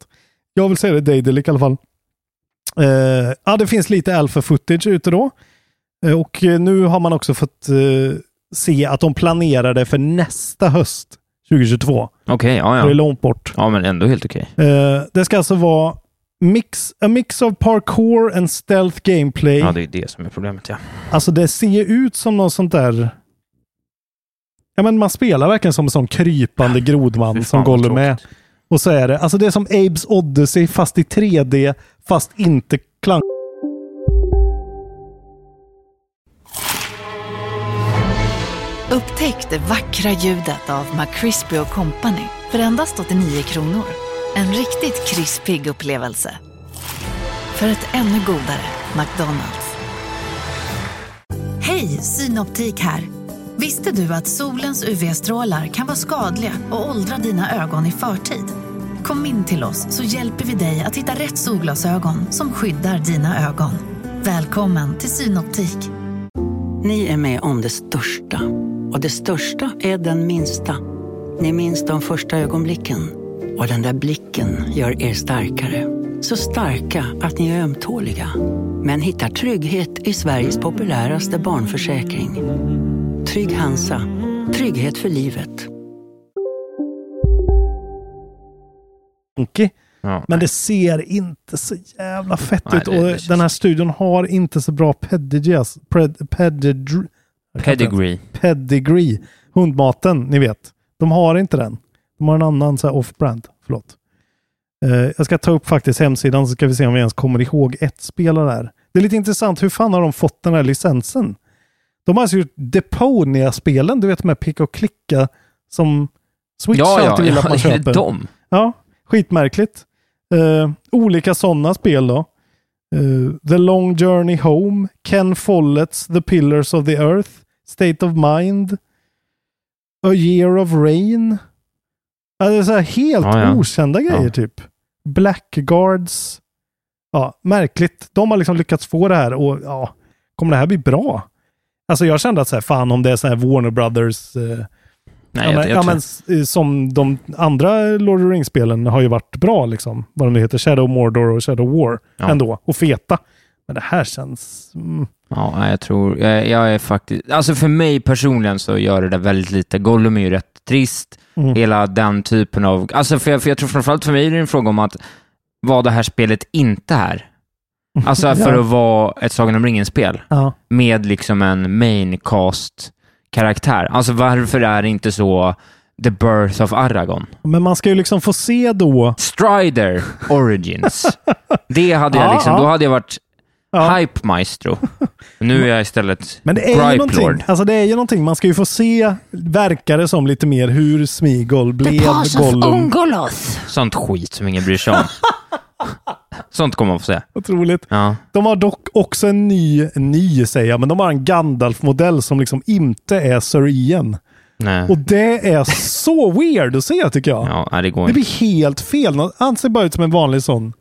Speaker 4: Jag vill säga det Daedalic i alla fall. Eh, ja, det finns lite alpha footage ute då. Eh, och nu har man också fått eh, se att de planerar det för nästa höst 2022.
Speaker 5: Okej, ja,
Speaker 4: Det är
Speaker 5: ja.
Speaker 4: långt bort.
Speaker 5: Ja, men ändå helt okej.
Speaker 4: Eh, det ska alltså vara mix, a mix of parkour and stealth gameplay.
Speaker 5: Ja, det är det som är problemet, ja.
Speaker 4: Alltså det ser ju ut som någon sånt där... Ja men man spelar verkligen som en sån krypande
Speaker 5: Fy
Speaker 4: grodman
Speaker 5: fan,
Speaker 4: som
Speaker 5: vad
Speaker 4: Gollum är.
Speaker 5: tråkigt.
Speaker 4: Och så är det, alltså det är som Abe's Odyssey fast i 3D, fast inte klang...
Speaker 6: Upptäck det vackra ljudet av McCrispy Company för endast 89 kronor. En riktigt krispig upplevelse. För ett ännu godare McDonalds. Hej, Synoptik här. Visste du att solens UV-strålar kan vara skadliga och åldra dina ögon i förtid? Kom in till oss så hjälper vi dig att hitta rätt solglasögon som skyddar dina ögon. Välkommen till Synoptik.
Speaker 7: Ni är med om det största. Och det största är den minsta. Ni minns de första ögonblicken. Och den där blicken gör er starkare. Så starka att ni är ömtåliga. Men hittar trygghet i Sveriges populäraste barnförsäkring. Trygg Hansa. Trygghet för livet.
Speaker 5: ja.
Speaker 4: Men det ser inte så jävla fett
Speaker 5: Nej,
Speaker 4: ut.
Speaker 5: det-
Speaker 4: Och
Speaker 5: det känns-
Speaker 4: den här studion har inte så bra pedigree. alltså. Pred, pedigr- jag kan inte ens-
Speaker 5: Pedigree.
Speaker 4: Pedigree. Hundmaten, ni vet. De har inte den. De har en annan så här off-brand. Förlåt. Eh, jag ska ta upp faktiskt hemsidan så ska vi se om vi ens kommer ihåg ett spelare där. Det är lite intressant. Hur fan har de fått den här licensen? De har alltså gjort Deponia-spelen, du vet med picka och klicka som Switch
Speaker 5: Ja, ja,
Speaker 4: alltid vill att man
Speaker 5: ja. Är det
Speaker 4: köper.
Speaker 5: dem?
Speaker 4: Ja, skitmärkligt. Eh, olika sådana spel då. Eh, the Long Journey Home, Ken Folletts The Pillars of the Earth, State of Mind, A Year of Rain. Ja, det är så här helt
Speaker 5: Ja, ja.
Speaker 4: okända grejer
Speaker 5: Ja.
Speaker 4: typ. Blackguards. Ja, märkligt. De har liksom lyckats få det här och ja, kommer det här bli bra? Alltså jag kände att så här, fan om det är så här Warner Brothers eh, ja,
Speaker 5: Nej, jag,
Speaker 4: men,
Speaker 5: jag,
Speaker 4: ja,
Speaker 5: tror-
Speaker 4: men, s- eh, som de andra Lord of the Rings-spelen har ju varit bra, liksom. vad de nu heter, Shadow Mordor och Shadow War
Speaker 5: Ja.
Speaker 4: ändå, och feta. Men det här känns... Mm,
Speaker 5: Ja, nej, jag tror... Jag, jag är faktiskt... Alltså för mig personligen så gör det där väldigt lite. Gollum är ju rätt trist.
Speaker 4: Mm.
Speaker 5: Hela den typen av... Alltså för jag, för jag tror framförallt för mig är det en fråga om att vad det här spelet inte är. Alltså för
Speaker 4: Ja.
Speaker 5: att vara ett Sagan om ringen-spel
Speaker 4: ja.
Speaker 5: med liksom en main cast karaktär. Alltså varför är det inte så The Birth of Aragorn?
Speaker 4: Men man ska ju liksom få se då...
Speaker 5: Strider Origins. Det hade
Speaker 4: Ja,
Speaker 5: jag liksom,
Speaker 4: ja.
Speaker 5: då hade jag varit
Speaker 4: Ja.
Speaker 5: hype maestro. Nu är jag istället
Speaker 4: Men det är, ju
Speaker 5: gripe lord.
Speaker 4: någonting, alltså det är ju någonting, man ska ju få se, verkar det som, lite mer hur Smigol blev Gollum.
Speaker 6: Ungoloth.
Speaker 5: Sånt skit som ingen bryr sig om. Sånt kommer man få se.
Speaker 4: Otroligt.
Speaker 5: Ja.
Speaker 4: De har dock också en ny, en ny säger jag, men de har en Gandalf-modell som liksom inte är Sir Ian.
Speaker 5: Nej.
Speaker 4: Och det är så weird att se tycker jag.
Speaker 5: Ja, nej, det går
Speaker 4: Det
Speaker 5: inte.
Speaker 4: blir helt fel. Han ser bara ut som en vanlig sån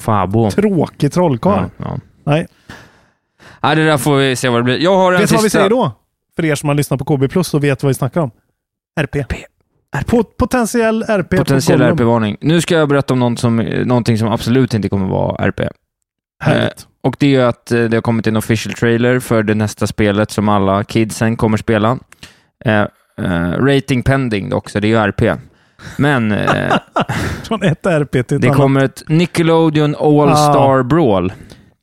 Speaker 5: Fabo.
Speaker 4: tråkig trollkarl.
Speaker 5: Ja, ja.
Speaker 4: Nej.
Speaker 5: Nej, det där får vi se vad det blir. Jag har
Speaker 4: Vet
Speaker 5: en
Speaker 4: du
Speaker 5: sista...
Speaker 4: vad vi säger då? För er som har lyssnat på KB Plus och vet vad vi snackar om. RP. Pot- potentiell RP. på
Speaker 5: Potentiell
Speaker 4: Gollum.
Speaker 5: RP-varning. Nu ska jag berätta om något som, eh, någonting som absolut inte kommer vara RP.
Speaker 4: Härligt.
Speaker 5: Och det är ju att eh, det har kommit en official trailer för det nästa spelet som alla kidsen kommer spela. Eh, eh, rating pending dock, så det är ju RP. Men eh,
Speaker 4: Från ett RP till ett
Speaker 5: det
Speaker 4: annat.
Speaker 5: kommer ett Nickelodeon All-Star Brawl.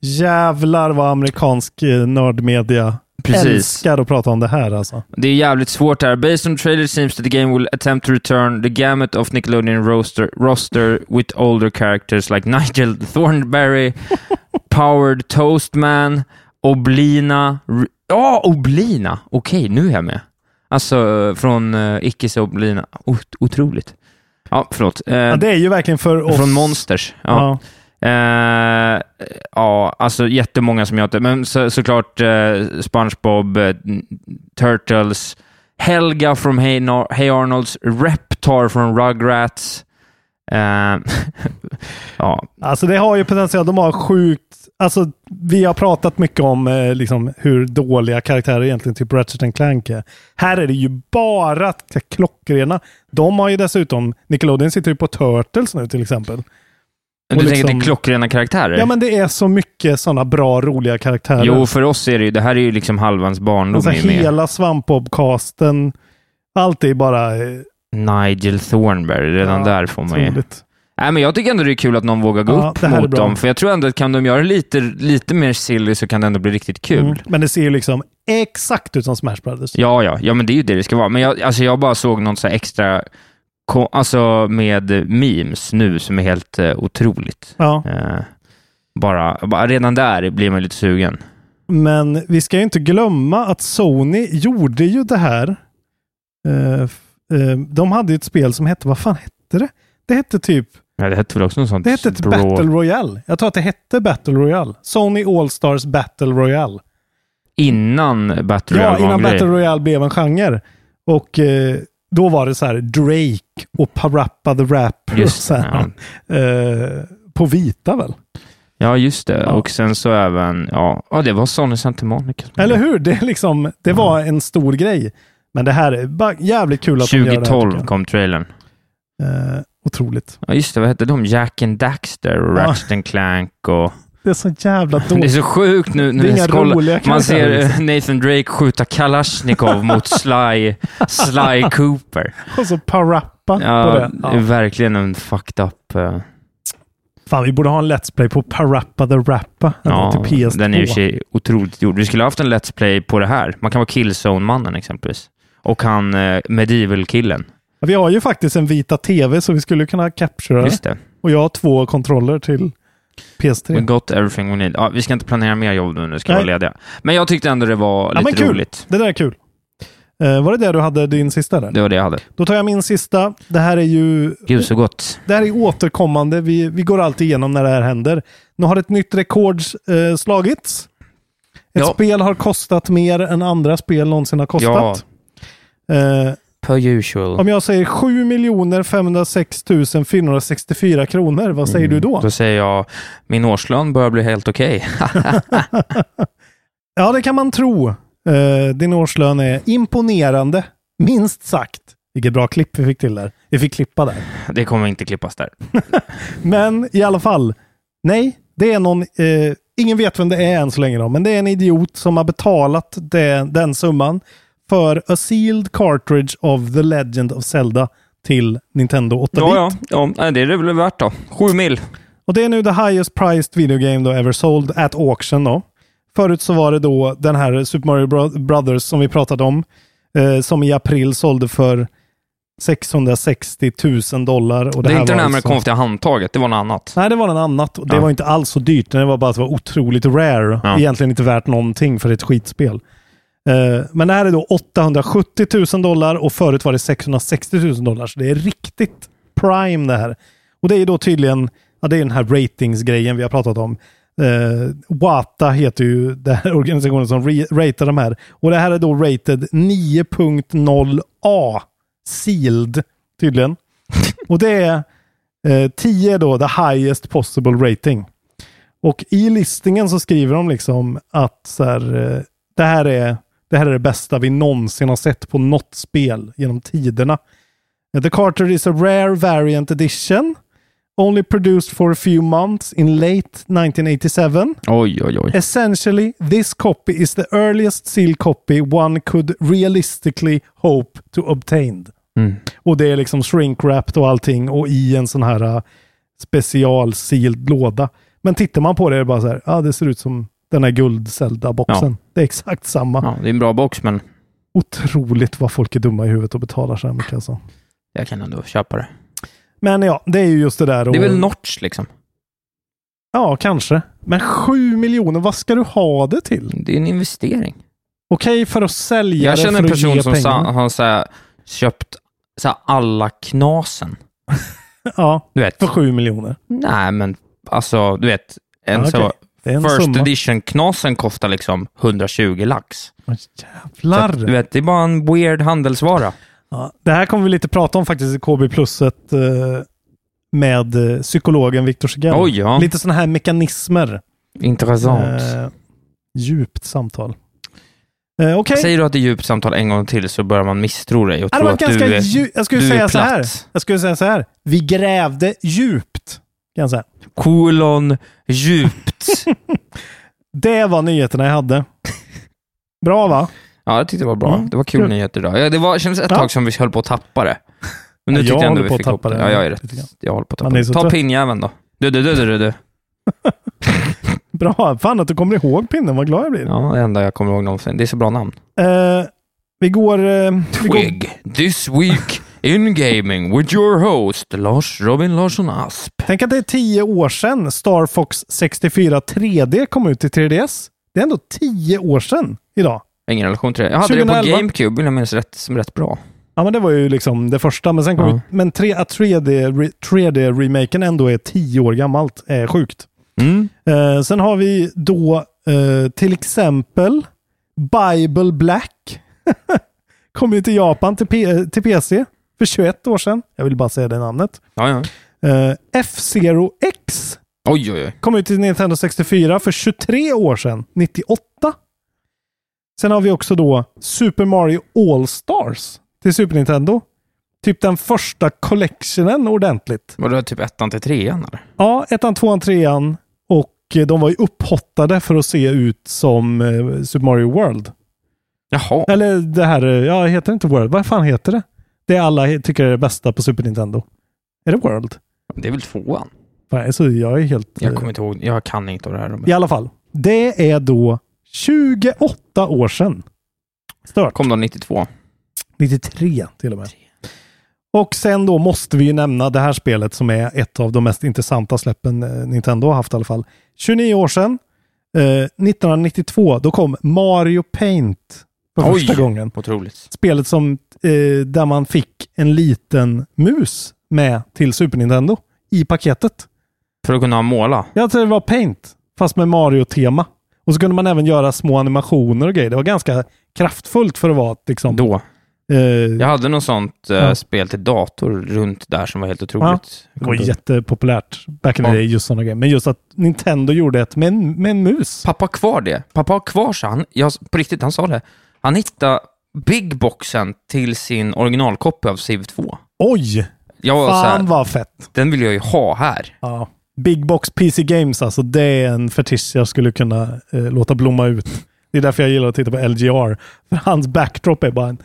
Speaker 4: Jävlar vad amerikansk eh, nördmedia
Speaker 5: Precis.
Speaker 4: älskar att prata om det här alltså.
Speaker 5: Det är jävligt svårt här. Based on the trailer it seems that the game will attempt to return the gamut of Nickelodeon roster, roster with older characters like Nigel Thornberry, Powered Toastman, Oblina... R- Ja, Oblina! Okej, nu är jag med. Alltså, från uh, Ickes och Oblina. Ot- otroligt. Ja, förlåt. Eh,
Speaker 4: Ja, det är ju verkligen för oss.
Speaker 5: från Monsters. Ja.
Speaker 4: Ja.
Speaker 5: Eh, ja, alltså jättemånga som jag inte... Men så, såklart eh, SpongeBob, eh, Turtles, Helga från hey, Nar- hey Arnolds, Reptar från Rugrats. Eh, ja,
Speaker 4: Alltså det har ju potential. De har sjukt alltså, vi har pratat mycket om eh, liksom, hur dåliga karaktärer egentligen typ Ratchet and Clank är. Här är det ju bara k- klockrena. De har ju dessutom, Nickelodeon sitter ju på Turtles nu till exempel.
Speaker 5: Du
Speaker 4: Och
Speaker 5: tänker att
Speaker 4: liksom-
Speaker 5: det är klockrena karaktärer?
Speaker 4: Ja men det är så mycket sådana bra, roliga karaktärer.
Speaker 5: jo, för oss är det ju, det här är ju liksom halvans barndom
Speaker 4: alltså,
Speaker 5: är ju med.
Speaker 4: hela Svampbobcasten. Allt är bara eh,
Speaker 5: Nigel Thornberry, redan
Speaker 4: Ja,
Speaker 5: där får man ju...
Speaker 4: otroligt.
Speaker 5: Nej, men jag tycker ändå det är kul att någon vågar gå
Speaker 4: Ja,
Speaker 5: upp
Speaker 4: det här är
Speaker 5: mot
Speaker 4: bra.
Speaker 5: dem, för jag tror ändå att kan de göra det lite, lite mer silly så kan det ändå bli riktigt kul.
Speaker 4: Mm. Men det ser ju liksom exakt ut som Smash Brothers.
Speaker 5: Ja, ja, ja, men det är ju det det ska vara. Men jag, alltså, jag bara såg någon så här extra, ko- alltså med memes nu som är helt eh, otroligt.
Speaker 4: Ja,
Speaker 5: Eh, bara, bara, redan där blir man lite sugen.
Speaker 4: men vi ska ju inte glömma att Sony gjorde ju det här. Eh, f- eh, de hade ju ett spel som hette, vad fan hette det? Det hette typ,
Speaker 5: Ja, det hette väl också något sånt?
Speaker 4: det hette ett
Speaker 5: bra-
Speaker 4: Battle Royale. Jag tror att det hette Battle Royale. Sony All-Stars Battle Royale.
Speaker 5: Innan Battle Royale
Speaker 4: Ja,
Speaker 5: var en
Speaker 4: innan
Speaker 5: grej.
Speaker 4: Battle Royale blev en genre. Och eh, då var det så här Drake och Parappa the Rapper och
Speaker 5: Just Mm.
Speaker 4: så här, eh, på vita väl?
Speaker 5: Ja, just det.
Speaker 4: Ja.
Speaker 5: Och sen så även, ja, ja det var Sony Santa Monica. som
Speaker 4: Eller
Speaker 5: gjorde
Speaker 4: hur? Det, är liksom, det var en stor grej. Men det här är bara jävligt kul
Speaker 5: det.
Speaker 4: att de gör det här,
Speaker 5: 2012
Speaker 4: tycker
Speaker 5: kom trailern.
Speaker 4: jag. eh, Otroligt.
Speaker 5: Ja, just det. Vad hette de? Jack and Daxter och
Speaker 4: Ja.
Speaker 5: Ratchet and Clank och...
Speaker 4: Det är så jävla
Speaker 5: Det är
Speaker 4: dåligt.
Speaker 5: så sjukt
Speaker 4: Det är
Speaker 5: nu när
Speaker 4: inga
Speaker 5: jag
Speaker 4: roliga
Speaker 5: kollar. Man
Speaker 4: karaktärer,
Speaker 5: ser
Speaker 4: liksom.
Speaker 5: eh, Nathan Drake skjuta Kalashnikov mot Sly, Sly Cooper.
Speaker 4: Och så Parappa på
Speaker 5: Ja, eh,
Speaker 4: det.
Speaker 5: det är
Speaker 4: Ja.
Speaker 5: verkligen en fucked up... eh,
Speaker 4: Fan, vi borde ha en Let's Play på Parappa the Rappa.
Speaker 5: Ja,
Speaker 4: till PS2.
Speaker 5: den är i och för sig otroligt gjord. Vi skulle haft en Let's Play på det här. Man kan vara Killzone-mannen exempelvis. Och han eh, Medieval-killen.
Speaker 4: Ja, Vi har ju faktiskt en vita TV så vi skulle kunna captura det.
Speaker 5: Just det.
Speaker 4: Och jag har två kontroller till
Speaker 5: We
Speaker 4: PS3.
Speaker 5: got everything we need. Ja, vi ska inte planera mer jobb nu, nu ska vi
Speaker 4: Nej.
Speaker 5: vara lediga. Men jag tyckte ändå det var
Speaker 4: Ja, men
Speaker 5: lite
Speaker 4: kul.
Speaker 5: roligt.
Speaker 4: Det där är kul. Eh, var det där du hade din sista? Där?
Speaker 5: Det var det jag hade.
Speaker 4: Då tar jag min sista. Det här är ju
Speaker 5: Gud så gott.
Speaker 4: Det här är återkommande. Vi, vi går alltid igenom när det här händer. Nu har ett nytt rekord eh, slagits. Ett
Speaker 5: Ja.
Speaker 4: spel har kostat mer än andra spel någonsin har kostat. Eh,
Speaker 5: Per usual.
Speaker 4: om jag säger 7 506 464 kronor, vad säger du då?
Speaker 5: Då säger jag, min årslön börjar bli helt okej.
Speaker 4: Ja, det kan man tro. Eh, din årslön är imponerande, minst sagt. Vilket bra klipp vi fick till där. Vi fick klippa där.
Speaker 5: Det kommer inte klippas där.
Speaker 4: Men i alla fall. Nej, det är någon... Eh, ingen vet vem det är än så länge då, men det är en idiot som har betalat det, den summan för A Sealed Cartridge of The Legend of Zelda till Nintendo 8-bit.
Speaker 5: Ja, ja, ja. Nej, Det är det väl värt då. Sju mil.
Speaker 4: Och det är nu the highest priced video game då ever sold at auction då. Förut så var det då den här Super Mario Bro- Brothers som vi pratade om, eh, som i april sålde för 660 000 dollar. Och det,
Speaker 5: Det är
Speaker 4: här
Speaker 5: inte det
Speaker 4: var
Speaker 5: här med det
Speaker 4: alltså-
Speaker 5: konstiga handtaget, det var något annat.
Speaker 4: Nej, det var en annat. Och Det
Speaker 5: Ja.
Speaker 4: var inte alls så dyrt. Det var bara att det var otroligt rare.
Speaker 5: Ja.
Speaker 4: Egentligen inte värt någonting för ett skitspel. Eh, men det här är då 870 000 dollar och förut var det 660 000 dollar. Så det är riktigt prime det här. Och det är då tydligen, ja det är den här ratingsgrejen vi har pratat om. Eh, Wata heter ju den här organisationen som re- ratear de här. Och det här är då rated 9.0A. Sealed, tydligen. Och det är eh, 10 är då the highest possible rating. Och i listningen så skriver de liksom att så här, eh, det, här är, det här är det bästa vi någonsin har sett på något spel genom tiderna. Eh, The Carter is a rare variant edition. Only produced for a few months in late 1987.
Speaker 5: Oj, oj, oj.
Speaker 4: Essentially, this copy is the earliest sealed copy one could realistically hope to obtain.
Speaker 5: Mm.
Speaker 4: Och det är liksom shrink-wrapped och allting och i en sån här uh, special-sealed låda. Men tittar man på det är det bara så här, ja ah, det ser ut som den här guld-Zelda-boxen. Det är exakt samma.
Speaker 5: Ja, det är en bra box, men
Speaker 4: Otroligt vad folk är dumma i huvudet och betalar så här mycket alltså.
Speaker 5: jag kan ändå köpa det.
Speaker 4: Men ja, det är ju just det där. Och,
Speaker 5: Det är väl notch liksom.
Speaker 4: Ja, kanske. Men sju miljoner, vad ska du ha det till?
Speaker 5: Det är en investering.
Speaker 4: Okej för att sälja
Speaker 5: Jag
Speaker 4: det
Speaker 5: känner
Speaker 4: för
Speaker 5: en
Speaker 4: att
Speaker 5: person
Speaker 4: ge
Speaker 5: som sa,
Speaker 4: pengarna.
Speaker 5: har så här, köpt så här, alla knasen.
Speaker 4: Ja,
Speaker 5: Du vet.
Speaker 4: för sju miljoner.
Speaker 5: Nej, men alltså, du vet. En
Speaker 4: Ja,
Speaker 5: så,
Speaker 4: okej. Det är en
Speaker 5: first
Speaker 4: summa.
Speaker 5: edition-knasen kostar liksom 120 lax.
Speaker 4: Åh,
Speaker 5: Så att, du
Speaker 4: Jävlar!
Speaker 5: vet, det är bara en weird handelsvara.
Speaker 4: Ja, det här kommer vi lite prata om faktiskt i KB Pluset eh, med eh, psykologen Viktor Segell.
Speaker 5: Oj, ja.
Speaker 4: Lite sådana här mekanismer.
Speaker 5: Intressant.
Speaker 4: Eh, djupt samtal. Eh, Okej.
Speaker 5: Säger du att det är djupt samtal en gång till så börjar man misstro dig och
Speaker 4: Ja, Det
Speaker 5: tro
Speaker 4: var
Speaker 5: att
Speaker 4: ganska
Speaker 5: du är,
Speaker 4: dju- jag skulle
Speaker 5: du
Speaker 4: säga
Speaker 5: är
Speaker 4: så här.
Speaker 5: platt.
Speaker 4: Jag skulle säga så här. Vi grävde djupt. Kan jag säga.
Speaker 5: Kolon djupt.
Speaker 4: Det var nyheterna jag hade. Bra va?
Speaker 5: ja, jag tyckte det var bra.
Speaker 4: Mm,
Speaker 5: Det var kul
Speaker 4: kul.
Speaker 5: nyheter idag. Ja, det var, kändes ett
Speaker 4: Ja.
Speaker 5: tag som vi höll på att tappa det. Men nu
Speaker 4: Ja,
Speaker 5: tyckte
Speaker 4: jag
Speaker 5: jag ändå
Speaker 4: håller
Speaker 5: vi
Speaker 4: på att
Speaker 5: fick ihop
Speaker 4: tappa
Speaker 5: det.
Speaker 4: det
Speaker 5: Ja, jag är rätt.
Speaker 4: lite grann.
Speaker 5: Jag håller på att
Speaker 4: Man
Speaker 5: tappa
Speaker 4: är
Speaker 5: det.
Speaker 4: så
Speaker 5: Ta
Speaker 4: trött.
Speaker 5: pinnjäveln då. Du, du, du, du, du, du.
Speaker 4: Bra. Fan att du kommer ihåg pinnen. Vad glad jag blir.
Speaker 5: Ja, det enda jag kommer ihåg någonsin. Det är så bra namn.
Speaker 4: Eh, vi går... eh, vi går
Speaker 5: Twig. This week in gaming with your host Lars Robin Larsson Asp.
Speaker 4: tänk att det är tio år sedan Star Fox 64 3D kom ut till 3DS. Det är ändå tio år sedan idag.
Speaker 5: Ingen relation till det. Jag hade det
Speaker 4: 2011.
Speaker 5: på GameCube, vill jag minnas rätt, som rätt bra.
Speaker 4: Ja, men det var ju liksom det första. Men sen kom
Speaker 5: Ja.
Speaker 4: ut, men 3, att 3D, 3D-remaken ändå är tio år gammalt är sjukt.
Speaker 5: Mm.
Speaker 4: Eh, sen har vi då eh, till exempel Bible Black. Kom ju till Japan till, P- eh, till PC för 21 år sedan. Jag vill bara säga det namnet.
Speaker 5: Ja, ja.
Speaker 4: Eh, F-Zero X
Speaker 5: Oj, oj, oj.
Speaker 4: kom ut till Nintendo 64 för 23 år sedan, 98. Sen har vi också då Super Mario All-Stars till Super Nintendo. Typ den första collectionen ordentligt.
Speaker 5: Var det typ ettan till trean eller?
Speaker 4: Ja, ettan, tvåan, trean och eh, de var ju upphottade för att se ut som eh, Super Mario World.
Speaker 5: Jaha.
Speaker 4: Eller det här, eh, ja heter det inte World? Vad fan heter det? Det alla he- tycker är det bästa på Super Nintendo. Är det World?
Speaker 5: Det är väl tvåan?
Speaker 4: Fan, Alltså, jag är helt...
Speaker 5: Jag
Speaker 4: eh,
Speaker 5: kommer inte ihåg. Jag kan inte av det här. Robin.
Speaker 4: I alla fall, det är då 28 år sedan. Stört.
Speaker 5: Kom då 92.
Speaker 4: 93 till och med. Och sen då måste vi ju nämna det här spelet som är ett av de mest intressanta släppen eh, Nintendo har haft i alla fall. 29 år sedan, eh, 1992, då kom Mario Paint för
Speaker 5: Oj.
Speaker 4: första gången.
Speaker 5: Otroligt.
Speaker 4: Spelet som, eh, där man fick en liten mus med till Super Nintendo i paketet.
Speaker 5: För att kunna måla.
Speaker 4: Jag tror det var Paint, fast med Mario-tema. Och så kunde man även göra små animationer och grejer. Det var ganska kraftfullt för att vara liksom...
Speaker 5: Då.
Speaker 4: eh,
Speaker 5: Jag hade något sånt eh,
Speaker 4: Ja.
Speaker 5: spel till dator runt där som var helt otroligt.
Speaker 4: Det var jättepopulärt back in the
Speaker 5: Ja.
Speaker 4: day, just sådana grejer. Men just att Nintendo gjorde ett med en, med en mus.
Speaker 5: Pappa har kvar det. Pappa har kvar så han, jag, på riktigt, han sa det. Han hittade Big Boxen till sin originalkopia av Civ 2.
Speaker 4: Oj!
Speaker 5: Jag var så
Speaker 4: Fan
Speaker 5: här,
Speaker 4: vad fett!
Speaker 5: den vill jag ju ha här.
Speaker 4: Ja. Big Box PC Games, alltså det är en fetisch jag skulle kunna eh, låta blomma ut. Det är därför jag gillar att titta på LGR. För hans backdrop är bara en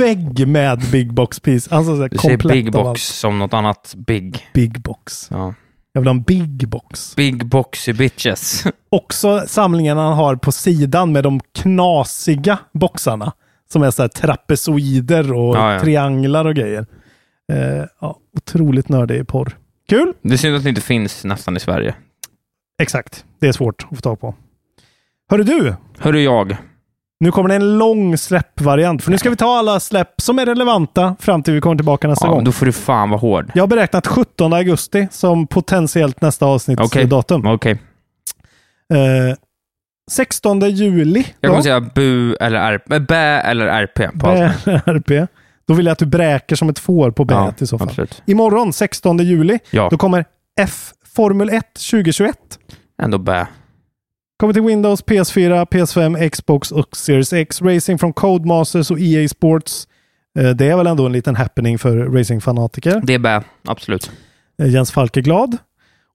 Speaker 4: vägg med Big Box PC. Alltså så här,
Speaker 5: Du ser
Speaker 4: komplett
Speaker 5: Big
Speaker 4: av
Speaker 5: Box
Speaker 4: allt.
Speaker 5: som något annat big.
Speaker 4: Big Box.
Speaker 5: Ja.
Speaker 4: Jag vill ha en Big Box.
Speaker 5: Big Boxy Bitches.
Speaker 4: Också samlingen han har på sidan med de knasiga boxarna. Som är så här trapezoider och
Speaker 5: Ja, ja.
Speaker 4: trianglar och grejer. Eh, ja, otroligt nördig porr. Kul!
Speaker 5: Det är synd att det inte finns nästan i Sverige.
Speaker 4: Exakt. Det är svårt att få tag på. Hörru du!
Speaker 5: Hörru jag.
Speaker 4: Nu kommer det en lång släppvariant. För nu ska vi ta alla släpp som är relevanta fram till vi kommer tillbaka nästa
Speaker 5: Ja,
Speaker 4: gång.
Speaker 5: då får du fan vara hård.
Speaker 4: Jag har beräknat 17 augusti som potentiellt nästa
Speaker 5: Okej.
Speaker 4: avsnittsdatum.
Speaker 5: Okej.
Speaker 4: Eh, 16 juli.
Speaker 5: Jag
Speaker 4: då.
Speaker 5: kommer säga bu eller rp. äh, Bä eller rp på allt.
Speaker 4: BRP. Då vill jag att du bräker som ett får på bäet i så fall.
Speaker 5: absolut.
Speaker 4: Imorgon, 16 juli,
Speaker 5: Ja.
Speaker 4: då kommer F Formel 1 2021.
Speaker 5: Ändå bä.
Speaker 4: Kommer till Windows, PS4, PS5, Xbox och Series X. Racing från Codemasters och EA Sports. Eh, Det är väl ändå en liten happening för racingfanatiker.
Speaker 5: Det är bä. Absolut.
Speaker 4: Eh, Jens Falk är glad.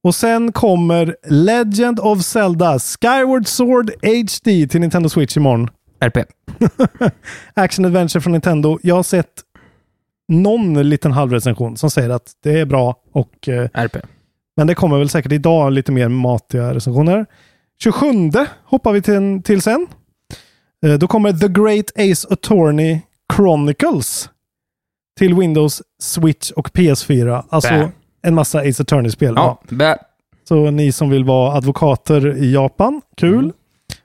Speaker 4: Och sen kommer Legend of Zelda Skyward Sword HD till Nintendo Switch imorgon.
Speaker 5: RP.
Speaker 4: Action Adventure från Nintendo. Jag har sett någon liten halvrecension som säger att det är bra. Och, eh,
Speaker 5: RP.
Speaker 4: men det kommer väl säkert idag lite mer matiga recensioner. 27 hoppar vi till, till sen. Eh, då kommer The Great Ace Attorney Chronicles till Windows, Switch och PS4. Alltså
Speaker 5: Bä.
Speaker 4: en massa Ace Attorney-spel. Ja.
Speaker 5: Ja, bä.
Speaker 4: Så ni som vill vara advokater i Japan, kul.
Speaker 5: Mm.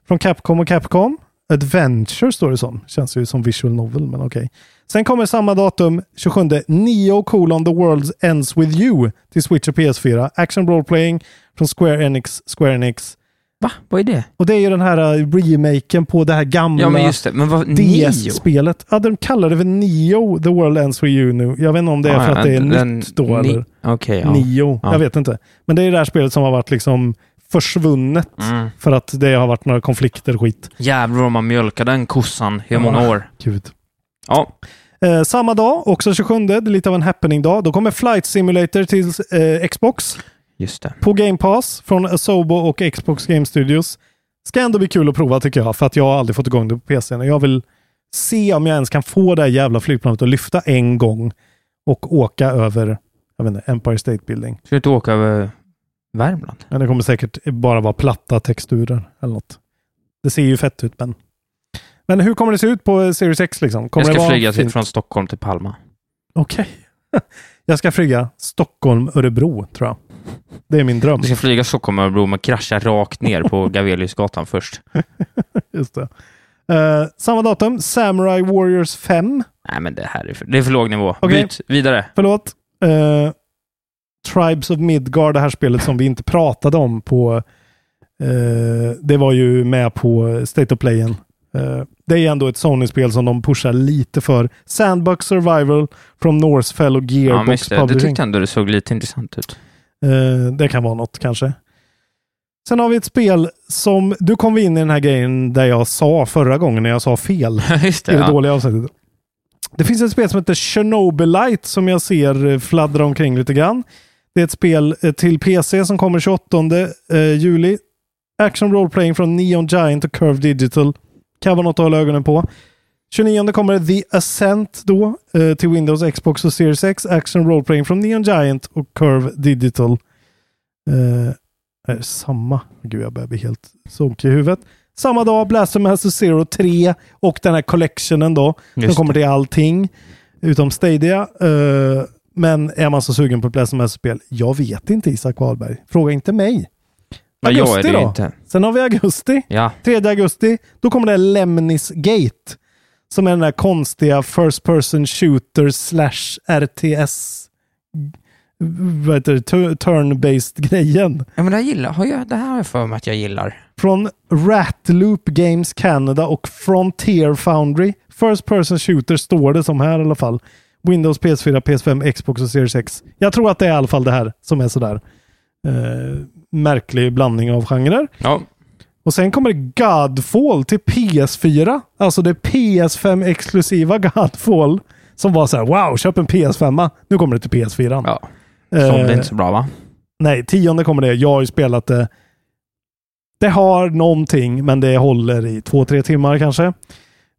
Speaker 4: Från Capcom och Capcom. Adventure står det som. Känns ju som visual novel, men okej. Sen kommer samma datum, 27, Neo colon The World Ends With You till Switch och PS4. Action Role Playing från Square Enix, Square Enix.
Speaker 5: Va? Vad är det?
Speaker 4: Och det är ju den här eh, remaken på det här gamla
Speaker 5: Ja, men just det. Men vad... Nio?
Speaker 4: DS-spelet. Ja, de kallar det för Neo The World Ends With You nu. Jag vet inte om det är för att det är nytt då,
Speaker 5: ni-
Speaker 4: eller?
Speaker 5: Okej, ja.
Speaker 4: Nio.
Speaker 5: Ja.
Speaker 4: Jag vet inte. Men det är det här spelet som har varit liksom försvunnet
Speaker 5: Mm.
Speaker 4: för att det har varit några konflikter och skit.
Speaker 5: Jävlar om man mjölkar den kossan i många år.
Speaker 4: Gud.
Speaker 5: Ja.
Speaker 4: Eh, samma dag, också 27, det är lite av en happening-dag, då kommer Flight Simulator till eh, Xbox
Speaker 5: Just det.
Speaker 4: på Game Pass från Asobo och Xbox Game Studios. Ska ändå bli kul att prova tycker jag, för att jag har aldrig fått igång det på PC. n. Jag vill se om jag ens kan få det här jävla flygplanet att lyfta en gång och åka över jag vet inte, Empire State Building.
Speaker 5: Ska du inte åka över Värmland?
Speaker 4: Men det kommer säkert bara vara platta texturer eller något. Det ser ju fett ut, men... Men hur kommer det se ut på eh, Series X liksom? Kommer
Speaker 5: jag
Speaker 4: det
Speaker 5: ska
Speaker 4: vara
Speaker 5: flyga till,
Speaker 4: fint?
Speaker 5: från Stockholm till Palma.
Speaker 4: Okej. jag ska flyga Stockholm-Örebro, tror jag. Det är min dröm.
Speaker 5: Du ska flyga Stockholm-Örebro, men krascha rakt ner på Gaveliusgatan först.
Speaker 4: Just det. Eh, samma datum, Samurai Warriors 5.
Speaker 5: Nej, men det här är för, det är för låg nivå.
Speaker 4: Okej.
Speaker 5: Byt vidare.
Speaker 4: Förlåt. Eh, Tribes of Midgard, det här spelet som vi inte pratade om på... eh, det var ju med på State of Playen. Eh, det är ändå ett Sony-spel som de pushar lite för. Sandbox Survival from Northfell och
Speaker 5: Ja, men
Speaker 4: Gearbox
Speaker 5: just det. Du
Speaker 4: Publishing.
Speaker 5: tyckte ändå det såg lite intressant ut.
Speaker 4: Eh, det kan vara något kanske. Sen har vi ett spel som... Du kom in i den här grejen där jag sa förra gången när jag sa fel.
Speaker 5: just det,
Speaker 4: i det
Speaker 5: ja.
Speaker 4: dåliga avsnittet. Det finns ett spel som heter Chernobylite som jag ser eh, fladdra omkring lite grann. Det är ett spel eh, till PC som kommer 28 eh, juli. Action Role Playing från Neon Giant och Curve Digital. Kan vara något att hålla ögonen på. 29 kommer The Ascent då eh, till Windows, Xbox och Series X. Action Role Playing från Neon Giant och Curve Digital. Eh, är det samma? Gud, jag börjar bli helt sunkig i huvudet. Samma dag, Blastermaster Zero 3 och den här collectionen då. Som
Speaker 5: Just
Speaker 4: kommer till allting utom Stadia. Eh, men är man så sugen på ett Blastermaster-spel? Jag vet inte Isak Wahlberg. Fråga inte mig.
Speaker 5: Men jag är
Speaker 4: augusti
Speaker 5: det
Speaker 4: då?
Speaker 5: inte.
Speaker 4: Sen har vi augusti.
Speaker 5: Ja.
Speaker 4: 3 augusti, då kommer det här Lemnis Gate. Som är den där konstiga First Person Shooter slash RTS vad heter det? Tu- turn-based grejen.
Speaker 5: ja, men det här, gillar, har jag, det här har jag för mig att jag gillar.
Speaker 4: Från Ratloop Games Canada och Frontier Foundry. First Person Shooter står det som här i alla fall. Windows, PS4, PS5, Xbox och Series X. Jag tror att det är i alla fall det här som är sådär eh, märklig blandning av genrer.
Speaker 5: Ja.
Speaker 4: Och sen kommer det Godfall till PS4. Alltså det PS5-exklusiva Godfall. Som var så här, wow, köp en PS5. Nu kommer det till PS4.
Speaker 5: ja. Sålde
Speaker 4: Eh,
Speaker 5: inte så bra, va?
Speaker 4: Nej, tionde kommer det. Jag har ju spelat det. Det har någonting, men det håller i två, tre timmar kanske.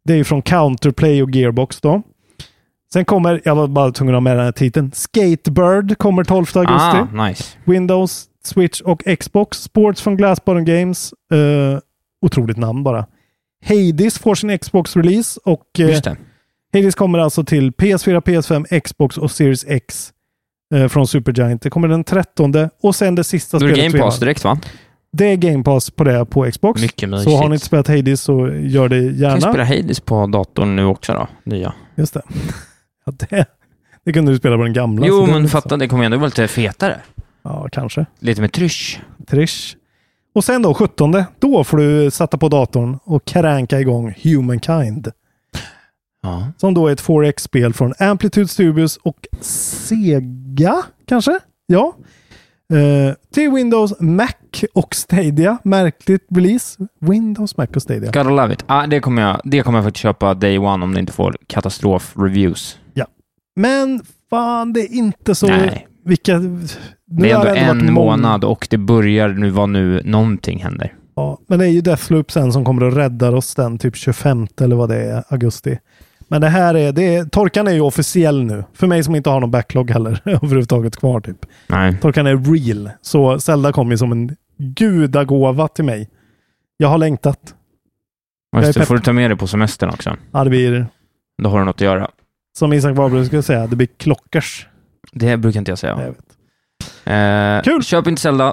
Speaker 4: Det är ju från Counterplay och Gearbox då. Sen kommer, jag var bara tvungen att ha med den här titeln, Skatebird kommer 12 augusti.
Speaker 5: Ah, nice.
Speaker 4: Windows, Switch och Xbox. Sports från Glassbottom Games. Eh, otroligt namn bara. Hades får sin Xbox-release och eh,
Speaker 5: Just det.
Speaker 4: Hades kommer alltså till PS4, PS5, Xbox och Series X eh, från Supergiant. Det kommer den 13 och sen det sista
Speaker 5: Då är
Speaker 4: spelet.
Speaker 5: det Game
Speaker 4: vi har.
Speaker 5: Pass direkt, va?
Speaker 4: Det är Game Pass på det på Xbox.
Speaker 5: Mycket mysigt.
Speaker 4: så har ni inte spelat Hades så gör det
Speaker 5: Kan jag
Speaker 4: gärna.
Speaker 5: spela Hades på datorn nu också då? Nya.
Speaker 4: Just det. Ja, det. Det kunde du spela på den gamla. så
Speaker 5: Jo,
Speaker 4: det är
Speaker 5: men
Speaker 4: lite så.
Speaker 5: fatta, det kommer ju ändå vara lite fetare.
Speaker 4: Ja, kanske.
Speaker 5: Lite med trysch.
Speaker 4: Trish. Och sen då 17, då får du sätta på datorn och kränka igång Humankind.
Speaker 5: Ja.
Speaker 4: Som då är ett 4X-spel från Amplitude Studios och Sega, kanske? Ja. Eh, till Windows, Mac och Stadia. Märkligt release. Windows, Mac och Stadia.
Speaker 5: Gotta love it. Ah, det, kommer jag, det kommer jag faktiskt köpa day one om det inte får katastrof-reviews.
Speaker 4: Men fan, det är inte så...
Speaker 5: Nej.
Speaker 4: Vilka... Nu
Speaker 5: Det är
Speaker 4: har
Speaker 5: ändå
Speaker 4: det varit
Speaker 5: en
Speaker 4: många-
Speaker 5: månad och det börjar nu vara nu någonting händer.
Speaker 4: Ja, men det är ju Deathloop sen som kommer att rädda oss den typ 25 eller vad det är, augusti. Men det här är, det är, torkan är ju officiell nu. För mig som inte har någon backlog heller överhuvudtaget kvar typ.
Speaker 5: Nej.
Speaker 4: Torkan är real. Så Zelda kom ju som en gudagåva till mig. Jag har längtat. är
Speaker 5: Just det,
Speaker 4: pepp.
Speaker 5: får du ta med dig på semestern också.
Speaker 4: Ja, det blir,
Speaker 5: Då har du något att göra.
Speaker 4: som Isak Wahlberg skulle säga, det blir klockers.
Speaker 5: Det brukar inte jag
Speaker 4: Jag
Speaker 5: säga.
Speaker 4: vet.
Speaker 5: Eh,
Speaker 4: Kul!
Speaker 5: Köp inte Zelda,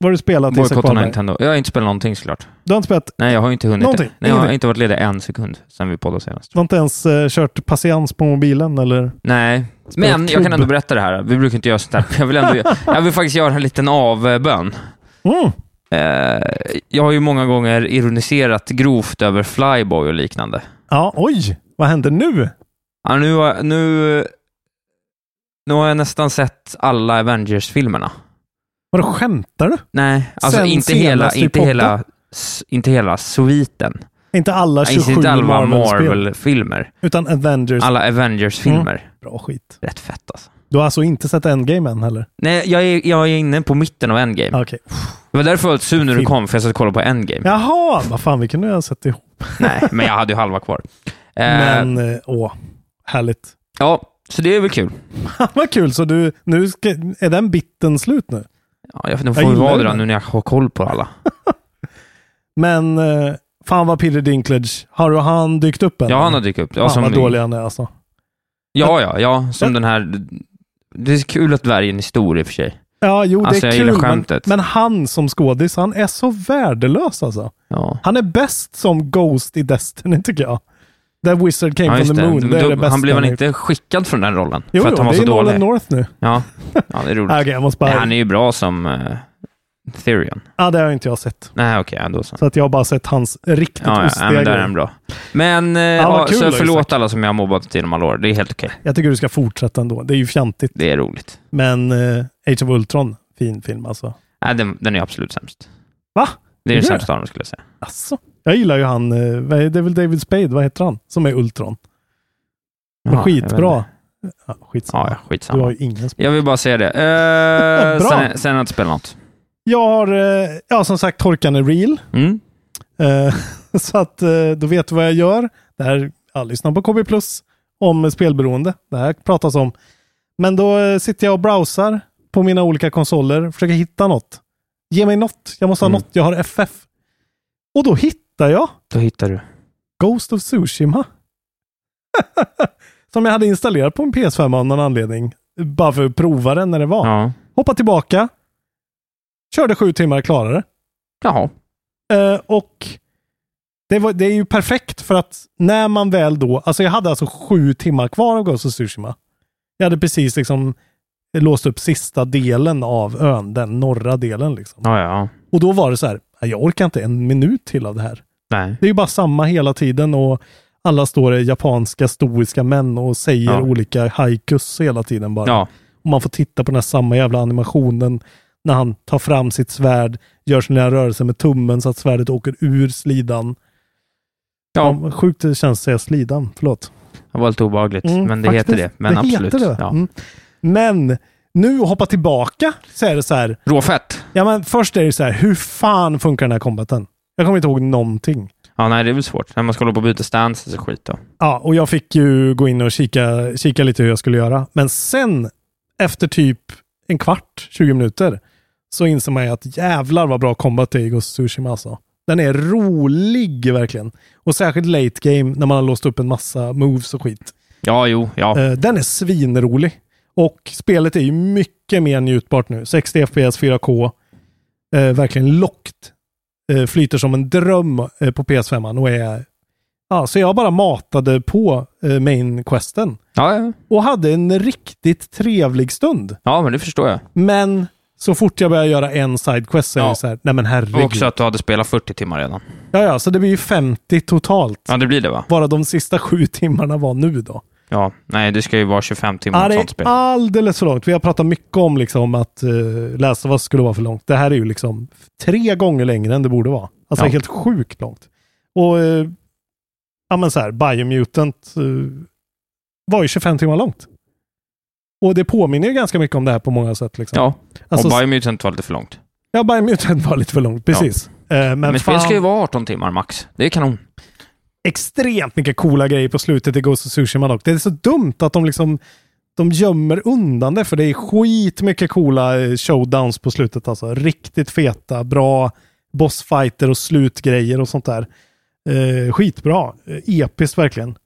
Speaker 4: Vad har du spelat Isak
Speaker 5: bojkotta
Speaker 4: Wahlberg?
Speaker 5: Nintendo. Jag har inte spelat någonting såklart.
Speaker 4: Du har inte spelat,
Speaker 5: Nej, jag har inte hunnit.
Speaker 4: Någonting,
Speaker 5: Nej, jag har
Speaker 4: ingenting.
Speaker 5: inte varit ledig en sekund sedan vi poddade senast.
Speaker 4: du har inte ens eh, kört patiens på mobilen eller?
Speaker 5: Nej,
Speaker 4: Spelat
Speaker 5: men jag kan
Speaker 4: klubb.
Speaker 5: ändå berätta det här. Vi brukar inte göra sånt här. men Jag vill, ändå, jag vill faktiskt göra en liten avbön.
Speaker 4: Mm.
Speaker 5: Eh, jag har ju många gånger ironiserat grovt över Flyboy och liknande.
Speaker 4: Ja, oj! Vad händer nu?
Speaker 5: Ja, nu, har- nu, nu har jag nästan sett alla Avengers-filmerna.
Speaker 4: Vadå, skämtar du?
Speaker 5: Nej, alltså
Speaker 4: Sen
Speaker 5: inte hela,
Speaker 4: senast i
Speaker 5: inte,
Speaker 4: podden?
Speaker 5: hela, s- inte hela sviten.
Speaker 4: Inte alla
Speaker 5: Nej, inte
Speaker 4: 27
Speaker 5: inte alla
Speaker 4: Marvel-spel,
Speaker 5: Marvel-filmer.
Speaker 4: utan Avengers.
Speaker 5: Alla Avengers-filmer.
Speaker 4: Bra skit.
Speaker 5: Rätt fett alltså.
Speaker 4: Du har alltså inte sett Endgame än heller?
Speaker 5: Nej, jag är, jag är inne på mitten av Endgame.
Speaker 4: Okej.
Speaker 5: Det var därför jag var lite sur när du
Speaker 4: Film.
Speaker 5: kom, för jag satt och kollade på Endgame.
Speaker 4: Jaha, vad fan, vi kunde ju ha sett ihop.
Speaker 5: Nej, men jag hade ju halva kvar. Eh,
Speaker 4: Men, eh, åh, härligt.
Speaker 5: Ja, så det är väl kul.
Speaker 4: vad kul, så du, nu ska, är den biten slut nu?
Speaker 5: Ja, jag får- nu
Speaker 4: Jag
Speaker 5: får vi
Speaker 4: gillar
Speaker 5: vara
Speaker 4: det
Speaker 5: det då,
Speaker 4: där.
Speaker 5: nu när jag har koll på alla.
Speaker 4: Men, eh, fan vad Peter Dinklage, har du- har han dykt upp än?
Speaker 5: Ja, han har dykt upp. Ja,
Speaker 4: Fan vad
Speaker 5: som,
Speaker 4: dålig han är alltså.
Speaker 5: ja, ja, ja, som
Speaker 4: Ja.
Speaker 5: den här... Det är kul att dvärgen är stor i och för sig.
Speaker 4: Ja, jo,
Speaker 5: Alltså,
Speaker 4: det är
Speaker 5: jag gillar
Speaker 4: kul. Men,
Speaker 5: skämtet.
Speaker 4: men han som skådis, han är så värdelös alltså.
Speaker 5: Ja.
Speaker 4: Han är bäst som Ghost i Destiny, tycker jag. The Wizard came
Speaker 5: Ja,
Speaker 4: from
Speaker 5: just
Speaker 4: the
Speaker 5: det.
Speaker 4: moon. Det är
Speaker 5: Då-
Speaker 4: det bästa.
Speaker 5: han blev väl
Speaker 4: har gjort.
Speaker 5: inte skickad från den rollen?
Speaker 4: Jo,
Speaker 5: för att
Speaker 4: jo,
Speaker 5: han var
Speaker 4: det
Speaker 5: så
Speaker 4: är Nolan
Speaker 5: dålig.
Speaker 4: North nu.
Speaker 5: Ja. ja, det är roligt.
Speaker 4: Ah, Okej, jag måste bara...
Speaker 5: Nej, han är ju bra som eh, Therion.
Speaker 4: Ja, det har inte jag sett.
Speaker 5: Nej, okej, ja, då så.
Speaker 4: Så att jag har bara sett hans riktigt
Speaker 5: Ja, ja, ja,
Speaker 4: ostiga
Speaker 5: men där är
Speaker 4: grejer.
Speaker 5: han bra. Men eh,
Speaker 4: vad
Speaker 5: ja,
Speaker 4: kul
Speaker 5: så
Speaker 4: då, Isak.
Speaker 5: förlåt alla som jag har mobbat genom alla år. Det är helt okej.
Speaker 4: Jag tycker du ska fortsätta ändå. Det är ju fjantigt.
Speaker 5: Det är roligt.
Speaker 4: Men eh, Age of Ultron, fin film alltså.
Speaker 5: Nej, den, den är absolut sämst.
Speaker 4: Va?
Speaker 5: Det är den
Speaker 4: Tycker du
Speaker 5: sämsta av dem skulle jag säga.
Speaker 4: Alltså, jag gillar ju han, eh, vad är- det är väl David Spade, vad heter han, som är Ultron?
Speaker 5: Ja, jag vet
Speaker 4: Skitbra. Ja,
Speaker 5: Ja,
Speaker 4: skitsamma.
Speaker 5: ja,
Speaker 4: Du har
Speaker 5: skitsamma.
Speaker 4: ju ingen sp-
Speaker 5: Jag vill bara säga det. Eh,
Speaker 4: Bra.
Speaker 5: sen, sen har jag inte spelat något.
Speaker 4: Jag har, eh, ja som sagt, torkan är real.
Speaker 5: Mm.
Speaker 4: Eh, Så att eh, då vet du vad jag gör. Det här, ja, lyssna på KB Plus om spelberoende. Det här pratas om. Men då eh, sitter jag och browsar på mina olika konsoler, försöker hitta något. Ge mig något. Jag måste ha
Speaker 5: Mm.
Speaker 4: något. Jag har FF. Och då hittar jag
Speaker 5: Då hittar du.
Speaker 4: Ghost of Tsushima. Som jag hade installerat på en PS5 av någon anledning. Bara för att prova den när det var.
Speaker 5: Ja.
Speaker 4: Hoppa tillbaka. Körde sju timmar, klarade det.
Speaker 5: Jaha.
Speaker 4: Eh, och det, var, det är ju perfekt för att när man väl då, alltså jag hade alltså sju timmar kvar av Ghost of Tsushima. Jag hade precis liksom låst upp sista delen av ön, den norra delen liksom.
Speaker 5: Ja, ja.
Speaker 4: Och då var det så här, jag orkar inte en minut till av det här.
Speaker 5: Nej.
Speaker 4: Det är ju bara samma hela tiden och alla står i japanska stoiska män och säger
Speaker 5: Ja.
Speaker 4: olika haikus hela tiden bara.
Speaker 5: Ja.
Speaker 4: Och man får titta på den här samma jävla animationen när han tar fram sitt svärd, gör sina rörelser med tummen så att svärdet åker ur slidan. Ja.
Speaker 5: Ja,
Speaker 4: vad sjukt det känns att säga slidan, förlåt.
Speaker 5: det var lite obehagligt,
Speaker 4: Mm,
Speaker 5: men det
Speaker 4: faktiskt.
Speaker 5: heter det. Men absolut.
Speaker 4: Heter det.
Speaker 5: Ja.
Speaker 4: Mm. Men nu hoppa tillbaka så är det så här,
Speaker 5: Råfett.
Speaker 4: ja men först är det så här, hur fan funkar den här kombaten? Jag kommer inte ihåg någonting.
Speaker 5: Ja, nej, det är väl svårt. När man ska hålla på och byta stance och skit då.
Speaker 4: Ja, och jag fick ju gå in och kika, kika lite hur jag skulle göra. Men sen, efter typ en kvart, 20 minuter, så inser man ju att jävlar vad bra combat det är i Ghost of Tsushima alltså. Den är rolig verkligen. Och särskilt late game när man har låst upp en massa moves och skit.
Speaker 5: Ja, jo, ja.
Speaker 4: Eh, Den är svinrolig. Och spelet är ju mycket mer njutbart nu. 60 FPS, 4K. Eh, verkligen lockt. Eh, flyter som en dröm eh, på PS5 och är... Ja, så jag bara matade på eh, main-questen.
Speaker 5: Ja, ja.
Speaker 4: Och hade en riktigt trevlig stund.
Speaker 5: ja, men det förstår jag.
Speaker 4: Men så fort jag börjar göra en side-quest så är
Speaker 5: Ja.
Speaker 4: det så här, nej men
Speaker 5: Och
Speaker 4: herregud.
Speaker 5: också att du hade spelat 40 timmar redan.
Speaker 4: Ja, ja, så det blir ju 50 totalt.
Speaker 5: Ja, det blir det va?
Speaker 4: Bara de sista sju timmarna var nu då.
Speaker 5: Ja. Nej, det ska ju vara 25 timmar
Speaker 4: Ja,
Speaker 5: och
Speaker 4: det är
Speaker 5: sånt spel.
Speaker 4: alldeles för långt. Vi har pratat mycket om liksom att uh, läsa vad skulle vara för långt. Det här är ju liksom tre gånger längre än det borde vara. Alltså
Speaker 5: Ja.
Speaker 4: helt sjukt långt. Och eh, ja men så här, Biomutant eh, var ju 25 timmar långt. Och det påminner ju ganska mycket om det här på många sätt. Liksom.
Speaker 5: Ja,
Speaker 4: alltså,
Speaker 5: och Biomutant var lite för långt.
Speaker 4: ja, Biomutant var lite för långt, precis. Eh, men
Speaker 5: Men, spel
Speaker 4: fan,
Speaker 5: ska ju vara 18 timmar max. Det är kanon.
Speaker 4: extremt mycket coola grejer på slutet i Ghost of Tsushima dock. Det är så dumt att de liksom de gömmer undan det, för det är skitmycket coola eh, showdowns på slutet. Alltså. Riktigt feta, bra bossfighter och slutgrejer och sånt där. Eh, skitbra. Eh, episkt verkligen.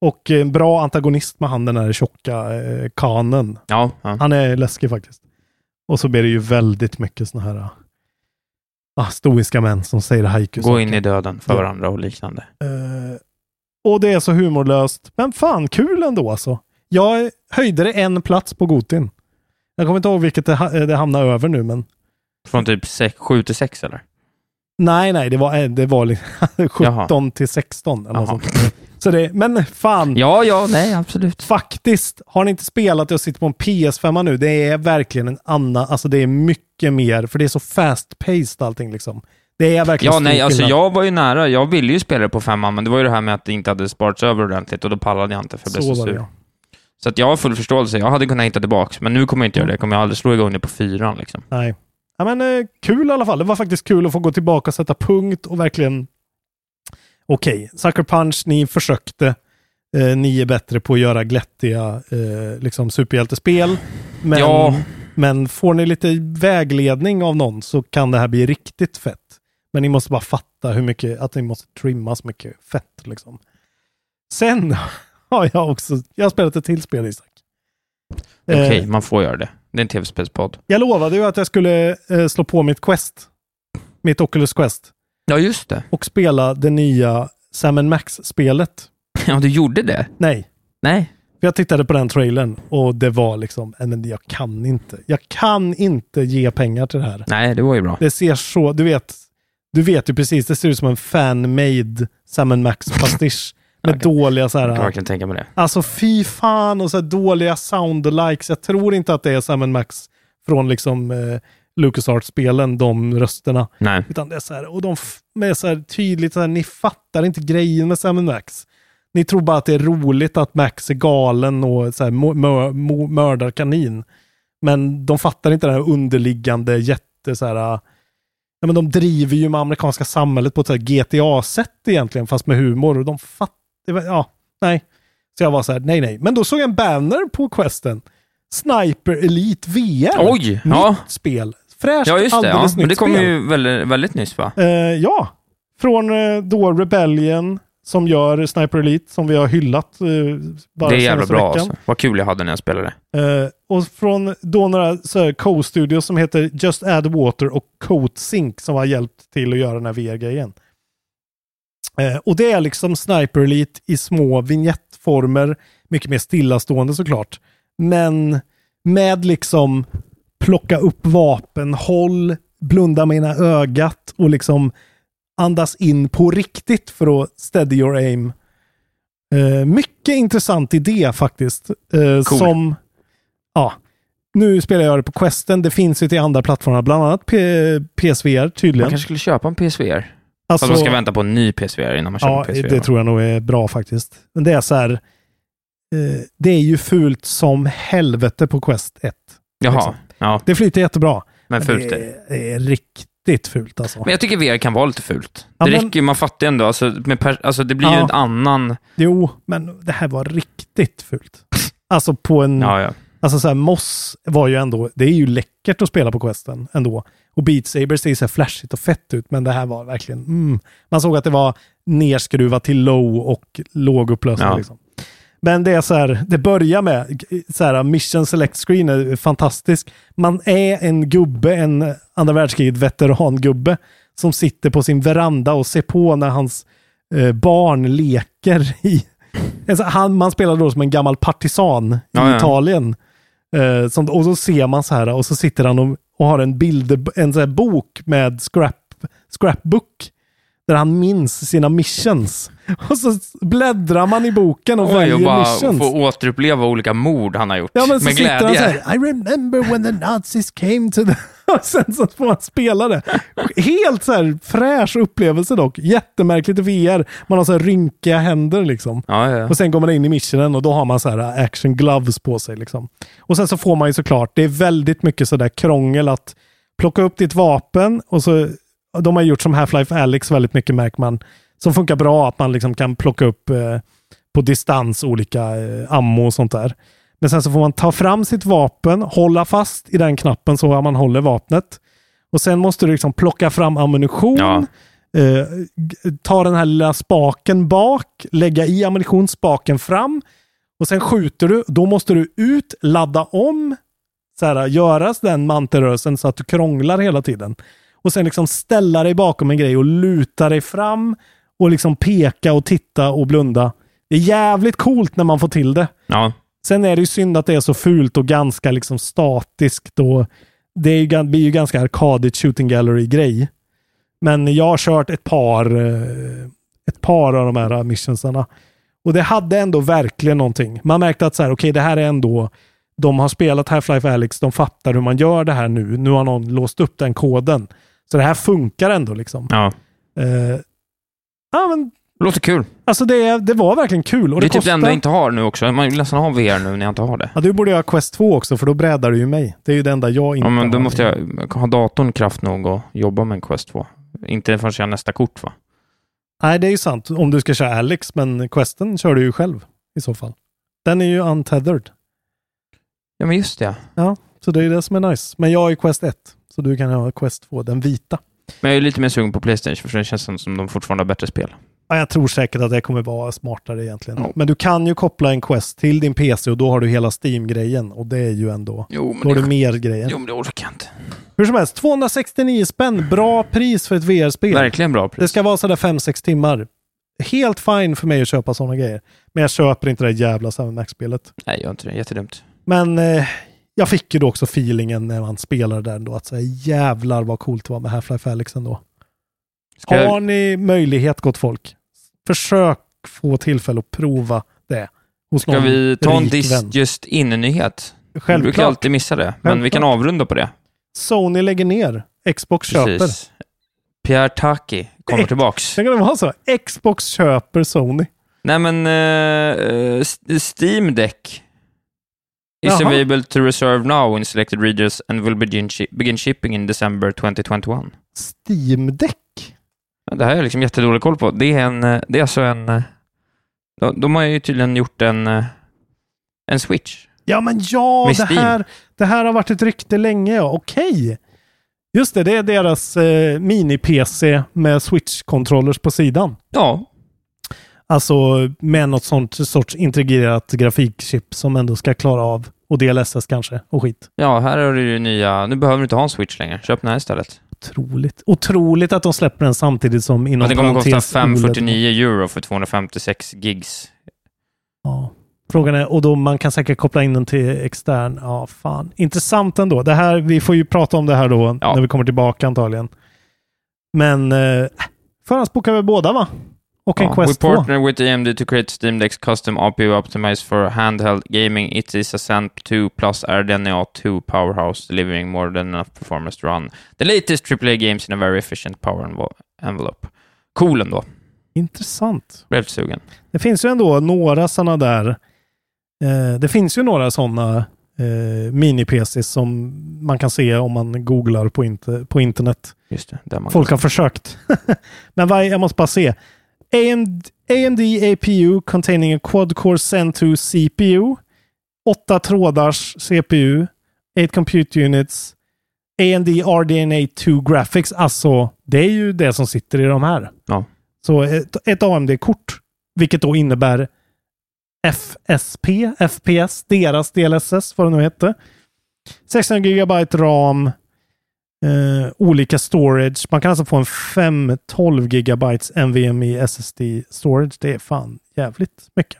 Speaker 4: Och eh, en bra antagonist med han den här tjocka eh, kanen.
Speaker 5: Ja, ja.
Speaker 4: Han är läskig faktiskt. Och så blir det ju väldigt mycket såna här eh, ah, stoiska män som säger haikus.
Speaker 5: Gå in i döden för
Speaker 4: Ja.
Speaker 5: varandra och liknande.
Speaker 4: Eh, och det är så humorlöst. Men fan, kul ändå alltså. Jag höjde det en plats på Gotin. Jag kommer inte ihåg vilket det, ha- eh, det hamnade över nu, men
Speaker 5: Från typ 7 till 6 eller?
Speaker 4: nej, nej, det var, eh, det var liksom 17
Speaker 5: Jaha.
Speaker 4: till 16. Eller något
Speaker 5: Jaha.
Speaker 4: sånt. Så det, men fan,
Speaker 5: Ja, ja, nej, absolut.
Speaker 4: faktiskt, har ni inte spelat det och sitter på en PS5 nu, det är verkligen en annan, alltså det är mycket mer, för det är så fast-paced allting liksom. Det är verkligen
Speaker 5: Ja,
Speaker 4: stor
Speaker 5: nej, alltså
Speaker 4: skillnad.
Speaker 5: jag var ju nära. Jag ville ju spela det på femman, men det var ju det här med att det inte hade sparats över ordentligt och då pallade jag inte för jag blev så,
Speaker 4: Så var det
Speaker 5: sur.
Speaker 4: ja.
Speaker 5: Så att jag har full förståelse. Jag hade kunnat hitta tillbaks, men nu kommer jag inte göra det. Jag kommer aldrig slå igång det på fyran liksom.
Speaker 4: Nej. Ja, men eh, kul i alla fall. Det var faktiskt kul att få gå tillbaka och sätta punkt och verkligen... Okej, Sucker Punch, ni försökte. Eh, ni är bättre på att göra glättiga eh, liksom superhjältespel. Men,
Speaker 5: Ja.
Speaker 4: men får ni lite vägledning av någon så kan det här bli riktigt fett. Men ni måste bara fatta hur mycket, att ni måste trimma så mycket fett liksom. Sen har jag också, jag har spelat ett till spel Isak.
Speaker 5: Okej,
Speaker 4: Eh,
Speaker 5: man får göra det. Det är en tv-spelspodd.
Speaker 4: jag lovade ju att jag skulle eh, slå på mitt Quest. Mitt Oculus Quest.
Speaker 5: Ja, just det.
Speaker 4: Och spela det nya Sam Max-spelet.
Speaker 5: Ja, du gjorde det?
Speaker 4: Nej.
Speaker 5: Nej.
Speaker 4: För jag tittade på den trailern och det var liksom, "Nej, men jag kan inte. Jag kan inte ge pengar till det här.
Speaker 5: Nej, det var ju bra.
Speaker 4: Det ser så, du vet, du vet ju precis, det ser ut som en fan-made Sam Max-pastisch. Med
Speaker 5: Okej.
Speaker 4: dåliga så
Speaker 5: Jag kan
Speaker 4: här,
Speaker 5: verkligen tänka mig det.
Speaker 4: Alltså fy fan och så här dåliga soundalikes. Jag tror inte att det är Sam Max från liksom eh, LucasArts-spelen, de rösterna.
Speaker 5: Nej.
Speaker 4: Utan det är så här, och de f- med så här tydligt så här, ni fattar inte grejen med Sam Max. Ni tror bara att det är roligt att Max är galen och så här, mo- mör- mo- mördar kanin. Men de fattar inte den här underliggande jätte så här, äh, nej, men de driver ju med amerikanska samhället på ett så här GTA-sätt egentligen, fast med humor. Och de fattar, ja, nej. Så jag var så här, nej, nej. Men då såg jag en banner på questen. Sniper Elite VR.
Speaker 5: Oj,
Speaker 4: Nytt
Speaker 5: ja.
Speaker 4: spel. Fräscht,
Speaker 5: Ja, just det. Ja.
Speaker 4: alldeles
Speaker 5: Men
Speaker 4: nytt
Speaker 5: det kom
Speaker 4: spel.
Speaker 5: ju väldigt, väldigt nyss, va?
Speaker 4: Eh, ja, från eh, då Rebellion som gör Sniper Elite som vi har hyllat eh, bara
Speaker 5: Det är jävla
Speaker 4: senaste
Speaker 5: bra
Speaker 4: veckan.
Speaker 5: alltså. Vad kul jag hade när jag spelade.
Speaker 4: Eh, och från då några så här co-studios som heter Just Add Water och Coat Sync som har hjälpt till att göra den här VR-grejen. Eh, och det är liksom Sniper Elite i små vignettformer, mycket mer stillastående såklart. Men med liksom plocka upp vapen, håll, blunda med ena ögat och liksom andas in på riktigt för att steady your aim. Eh, mycket intressant idé faktiskt. Eh,
Speaker 5: Cool.
Speaker 4: Som, ja, nu spelar jag det på Questen. Det finns ju till andra plattformar, bland annat P- PSVR
Speaker 5: Man
Speaker 4: tydligen.
Speaker 5: kanske skulle köpa en PSVR.
Speaker 4: Alltså-
Speaker 5: Fast man ska vänta på en ny PSVR innan man köper
Speaker 4: Ja,
Speaker 5: en PSVR.
Speaker 4: det tror jag nog är bra faktiskt. Men det är så här, eh, det är ju fult som helvete på Quest 1.
Speaker 5: Jaha,
Speaker 4: liksom.
Speaker 5: ja.
Speaker 4: Det flyter jättebra.
Speaker 5: Men fult
Speaker 4: det
Speaker 5: är det.
Speaker 4: är, det är riktigt fult alltså.
Speaker 5: Men jag tycker VR kan vara lite fult.
Speaker 4: Ja,
Speaker 5: det
Speaker 4: men-
Speaker 5: räcker ju, man fattar ju ändå. Alltså, med pers- alltså, det blir ju
Speaker 4: Ja. Mm.
Speaker 5: en annan...
Speaker 4: Jo, men det här var riktigt fult. Alltså på en...
Speaker 5: Ja, ja.
Speaker 4: Alltså så här, Moss var ju ändå, det är ju läckert att spela på Questen ändå. Och Beat Saber ser ju så här flashigt och fett ut, men det här var verkligen, mm. Man såg att det var nerskruvat till low och lågupplösning.
Speaker 5: Ja.
Speaker 4: Liksom. Men det är så här, det börjar med, så här, Mission Select Screen är fantastisk. Man är en gubbe, en andra världskriget veterangubbe, som sitter på sin veranda och ser på när hans eh, barn leker i... Alltså, han, man spelar då som en gammal partisan i
Speaker 5: Ja, ja.
Speaker 4: Italien. Eh, som, och så ser man så här och så sitter han och, och har en bild, en så här bok med scrap, scrapbook. Där han minns sina missions. Och så bläddrar man i boken och
Speaker 5: Oj,
Speaker 4: väljer
Speaker 5: och bara
Speaker 4: missions.
Speaker 5: få återuppleva olika mord han har gjort.
Speaker 4: Ja, men så
Speaker 5: med
Speaker 4: sitter han så
Speaker 5: glädje.
Speaker 4: här, I remember when the nazis came to the... Och sen så får han spela det. Helt så här fräsch upplevelse dock. Jättemärkligt i VR. Man har så här rynkiga händer liksom.
Speaker 5: Ja, ja.
Speaker 4: Och sen går man in i missionen och då har man så här action gloves på sig. Liksom. Och sen så får man ju såklart, det är väldigt mycket sådär krångel att plocka upp ditt vapen och så, de har gjort som Half-Life Alyx väldigt mycket märker man, som funkar bra att man liksom kan plocka upp eh, på distans olika eh, ammo och sånt där. Men sen så får man ta fram sitt vapen, hålla fast i den knappen så man håller vapnet. Och sen måste du liksom plocka fram ammunition.
Speaker 5: Ja.
Speaker 4: Eh, g- ta den här lilla spaken bak, lägga i ammunition, spaken fram och sen skjuter du. Då måste du ut, ladda om, så här, göra den mantelrörelsen så att du krånglar hela tiden. Och sen liksom ställa dig bakom en grej och luta dig fram och liksom peka och titta och blunda. Det är jävligt coolt när man får till det.
Speaker 5: ja.
Speaker 4: Sen är det ju synd att det är så fult och ganska liksom statiskt. Och det är ju, gan- blir ju ganska arkadigt shooting gallery-grej. Men jag har kört ett par, eh, ett par av de här missionsarna. Och det hade ändå verkligen någonting. Man märkte att så här, okej, det här är ändå... De har spelat Half-Life Alyx, de fattar hur man gör det här nu. Nu har någon låst upp den koden. Så det här funkar ändå liksom.
Speaker 5: Ja.
Speaker 4: Eh, ja, men
Speaker 5: Låter kul.
Speaker 4: alltså det, det var verkligen kul. Och det,
Speaker 5: det är typ det
Speaker 4: kostar-
Speaker 5: enda jag inte har nu också. Man vill nästan ha VR nu när jag inte har det.
Speaker 4: Ja, du borde göra Quest 2 också, för då brädar du ju mig. Det är ju det enda jag inte
Speaker 5: Ja, men då
Speaker 4: har.
Speaker 5: måste jag ha datorn kraft nog att jobba med en Quest 2. Inte förrän jag har nästa kort va?
Speaker 4: Nej, det är ju sant. Om du ska köra Alex, men Questen kör du ju själv i så fall. Den är ju untethered,
Speaker 5: Ja, men just det.
Speaker 4: så det är ju det som är nice. Men jag har ju Quest 1, så du kan ha Quest 2, den vita.
Speaker 5: Men jag är lite mer sugen på Playstation, för det känns som- som de fortfarande har bättre spel.
Speaker 4: Ja, jag tror säkert att det kommer vara smartare egentligen.
Speaker 5: Ja.
Speaker 4: Men du kan ju koppla en Quest till din PC och då har du hela Steam-grejen och det är ju ändå...
Speaker 5: Jo,
Speaker 4: Då
Speaker 5: men
Speaker 4: har
Speaker 5: det,
Speaker 4: du mer grejer.
Speaker 5: jo, men det orkar jag inte.
Speaker 4: Hur som helst, 269 spänn. Bra pris för ett VR-spel.
Speaker 5: Verkligen bra
Speaker 4: Det
Speaker 5: pris.
Speaker 4: ska vara sådär 5-6 timmar. Helt fine för mig att köpa sådana grejer. Men jag köper inte det där jävla Seven Max-spelet.
Speaker 5: Nej, gör inte det. Jättedumt.
Speaker 4: Men eh, jag fick ju då också feelingen när man spelade den då att så här, jävlar vad coolt det var med Half-Life Alyx ändå.
Speaker 5: Ska jag-
Speaker 4: Har ni möjlighet gott folk, försök få tillfälle att prova det. Hos
Speaker 5: Ska
Speaker 4: någon
Speaker 5: vi ta en
Speaker 4: rik
Speaker 5: dis
Speaker 4: vän.
Speaker 5: just in-nyhet? Vi brukar
Speaker 4: Självklart.
Speaker 5: alltid missa det, men vi
Speaker 4: Självklart.
Speaker 5: kan avrunda på det.
Speaker 4: Sony lägger ner, Xbox köper.
Speaker 5: Precis. Pierre Taki kommer
Speaker 4: Ex-
Speaker 5: tillbaks.
Speaker 4: Sen kan det vara så. Xbox köper Sony.
Speaker 5: Nej men, eh, eh, S- Steam Deck is
Speaker 4: Jaha.
Speaker 5: available to reserve now in selected regions and will begin, shi- begin shipping in December 2021.
Speaker 4: Steam Deck.
Speaker 5: Ja, Det här har jag liksom jättedålig koll på. Det är, en, eh, det är alltså en... eh, De, de har ju tydligen gjort en, eh, en switch.
Speaker 4: Ja, men ja,
Speaker 5: Med
Speaker 4: det
Speaker 5: Steam.
Speaker 4: här, det här har varit ett rykte länge. Ja. Okej. Just det, det är deras eh, mini-PC med switch-controllers på sidan.
Speaker 5: Ja,
Speaker 4: Alltså med något sånt sorts integrerat grafikchip som ändå ska klara av och DLSS kanske och skit.
Speaker 5: ja här har du ju nya... Nu behöver du inte ha en switch längre. Köp den här istället.
Speaker 4: Otroligt. Otroligt att de släpper den samtidigt som inom
Speaker 5: Men den kommer att kosta
Speaker 4: parentes OLED.
Speaker 5: 549 euro för 256 gigs.
Speaker 4: Ja. Frågan är, och då man kan säkert koppla in den till extern. Ja, fan. Intressant ändå. Det här, vi får ju prata om det här då
Speaker 5: Ja.
Speaker 4: när vi kommer tillbaka antagligen. Men eh, förhandsbokar vi båda va? Och en
Speaker 5: Ja,
Speaker 4: Quest
Speaker 5: We
Speaker 4: 2.
Speaker 5: partner with AMD to create Steam Deck's custom APU optimized for handheld gaming. It is a Zen 2 plus RDNA 2 powerhouse delivering more than enough performance to run the latest AAA games in a very efficient power envo- envelope. Cool ändå.
Speaker 4: Intressant.
Speaker 5: Blev lite sugen.
Speaker 4: Det finns ju ändå några sådana där. Eh, det finns ju några sådana eh, mini-PCs som man kan se om man googlar på, inte, på internet.
Speaker 5: Just det, där man
Speaker 4: Folk har försökt. Men vad, jag måste bara se. AMD, AMD APU containing a quad-core Zen 2 CPU. åtta trådars CPU. 8 compute units. AMD RDNA 2 graphics. Alltså, det är ju det som sitter i de här.
Speaker 5: Ja.
Speaker 4: Så ett, ett AMD-kort, vilket då innebär FSP, FPS, deras DLSS, vad det nu hette. 600 GB RAM, eh, olika storage. Man kan alltså få en 5 12 GB NVMe SSD storage. Det är fan jävligt mycket.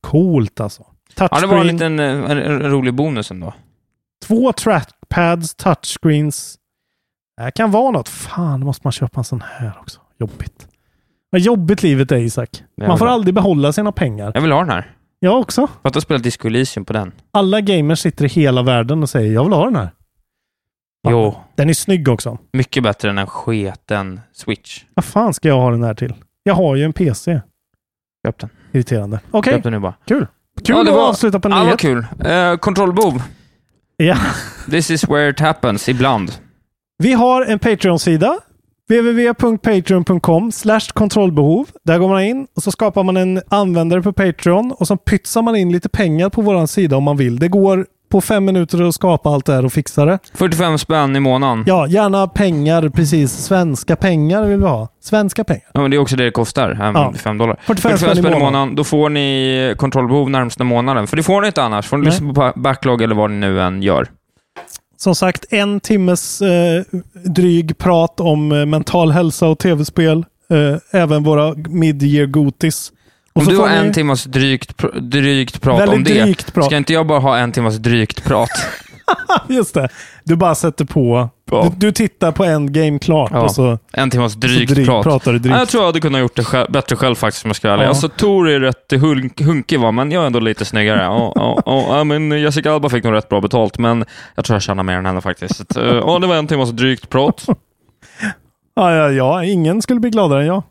Speaker 4: Coolt alltså. Touchscreen.
Speaker 5: Ja, det var en liten eh, en, en rolig bonus ändå.
Speaker 4: Två trackpads, touchscreens. Det här kan vara något. Fan, då måste man köpa en sån här också. Jobbigt. Vad jobbigt livet är, Isak.
Speaker 5: Ja,
Speaker 4: Man får
Speaker 5: bra.
Speaker 4: aldrig behålla sina pengar.
Speaker 5: Jag vill ha den här.
Speaker 4: Jag också.
Speaker 5: För att jag spelat Disco Elysium på den.
Speaker 4: Alla gamers sitter i hela världen och säger jag vill ha den här. Fan,
Speaker 5: Jo,
Speaker 4: Den är snygg också.
Speaker 5: mycket bättre än en sketen Switch.
Speaker 4: Vad fan ska jag ha den här till? Jag har ju en PC.
Speaker 5: Köp den.
Speaker 4: Irriterande. Okej,
Speaker 5: Köp den nu bara.
Speaker 4: kul
Speaker 5: Ja, det var-
Speaker 4: att avsluta på en
Speaker 5: Ja, vad
Speaker 4: nyhet.
Speaker 5: kul. Eh, kontrollbov.
Speaker 4: Ja.
Speaker 5: This is where it happens, ibland.
Speaker 4: Vi har en Patreon-sida. www.patreon.com kontrollbehov. Där går man in och så skapar man en användare på Patreon och så pytsar man in lite pengar på vår sida om man vill. Det går på fem minuter att skapa allt det här och fixa
Speaker 5: Mm.
Speaker 4: det.
Speaker 5: 45 spänn i månaden. Ja.
Speaker 4: Ja, gärna pengar, precis. Svenska pengar vill vi ha. Svenska pengar.
Speaker 5: men det är också det det kostar, här
Speaker 4: Ja.
Speaker 5: 5 dollar.
Speaker 4: 45 spänn i månaden.
Speaker 5: Då får ni kontrollbehov närmsta månaden. För det får ni inte annars. Får ni
Speaker 4: Nej.
Speaker 5: lyssna på backlog eller vad ni nu än gör.
Speaker 4: Som sagt, en timmes eh, dryg prat om eh, mental hälsa och tv-spel. Eh, även våra mid-year gotis. Och
Speaker 5: Om
Speaker 4: så
Speaker 5: du
Speaker 4: får
Speaker 5: har en
Speaker 4: ni
Speaker 5: timmas drygt, pr- drygt prat om
Speaker 4: Väldigt
Speaker 5: det,
Speaker 4: drygt prat.
Speaker 5: ska inte jag bara ha en timmas drygt prat?
Speaker 4: Just det. Du bara sätter på.
Speaker 5: Ja.
Speaker 4: Du, du tittar på Endgame klart
Speaker 5: Ja.
Speaker 4: och så,
Speaker 5: En timmas drygt
Speaker 4: så dryg,
Speaker 5: prat.
Speaker 4: pratar du drygt.
Speaker 5: Ja, jag tror jag hade kunnat gjort det själv, bättre själv faktiskt, om jag ska vara ärlig.
Speaker 4: Ja.
Speaker 5: Alltså, Tor är rätt hunk, hunkig, va? men jag är ändå lite snyggare. Ja, ja, ja, ja, men Jessica Alba fick nog rätt bra betalt, men jag tror jag tjänar mer än henne faktiskt. Så, att, eh, ja, det var en timmas drygt prat.
Speaker 4: Ja, ja, ja, ingen skulle bli gladare än jag.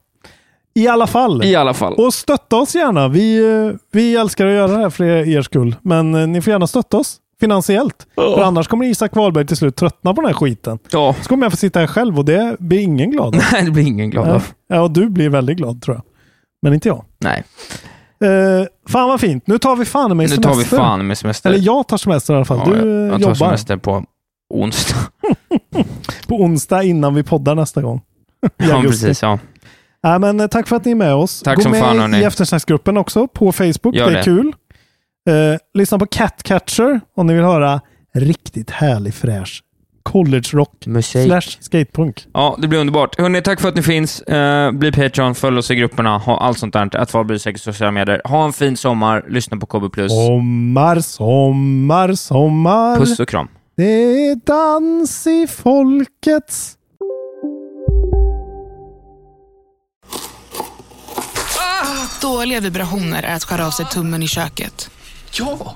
Speaker 4: I alla fall.
Speaker 5: I alla fall.
Speaker 4: Och stötta oss gärna. Vi, eh, vi älskar att göra det här för er, er skull. Men eh, ni får gärna stötta oss finansiellt.
Speaker 5: Ja.
Speaker 4: För annars kommer Isak Wahlberg till slut tröttna på den här skiten.
Speaker 5: Ja,
Speaker 4: Så kommer jag få sitta här själv och det blir ingen glad.
Speaker 5: nej, det blir ingen glad
Speaker 4: ja,
Speaker 5: av.
Speaker 4: ja, och du blir väldigt glad tror jag. Men inte jag.
Speaker 5: Nej,
Speaker 4: Eh, fan vad fint. Nu tar vi fan med
Speaker 5: nu
Speaker 4: semester.
Speaker 5: tar vi fan med semester.
Speaker 4: Eller jag tar semester i alla fall.
Speaker 5: Ja,
Speaker 4: du eh,
Speaker 5: jag, jag tar
Speaker 4: jobbar
Speaker 5: semester på onsdag.
Speaker 4: på onsdag innan vi poddar nästa gång. I
Speaker 5: Ja,
Speaker 4: augusti.
Speaker 5: precis. Ja.
Speaker 4: Nej, men eh, tack för att ni är med oss.
Speaker 5: Tack
Speaker 4: Gå
Speaker 5: som
Speaker 4: med
Speaker 5: fan, hörni.
Speaker 4: i eftersnacksgruppen också på Facebook.
Speaker 5: Gör
Speaker 4: det är
Speaker 5: det.
Speaker 4: kul. Eh, lyssna på Catcatcher om ni vill höra riktigt härlig fräsch college rock
Speaker 5: Musik.
Speaker 4: slash skatepunk.
Speaker 5: Ja, det blir underbart. Hörrni, tack för att ni finns. Eh, bli Patreon, följ oss i grupperna, ha allt sånt där. Att Valby säkert sociala medier. Ha en fin sommar, lyssna på KB+.
Speaker 4: Sommar, sommar, sommar.
Speaker 5: Puss och kram.
Speaker 4: Det är dans i folkets...
Speaker 8: Dåliga vibrationer är att skära av sig tummen i köket. Ja!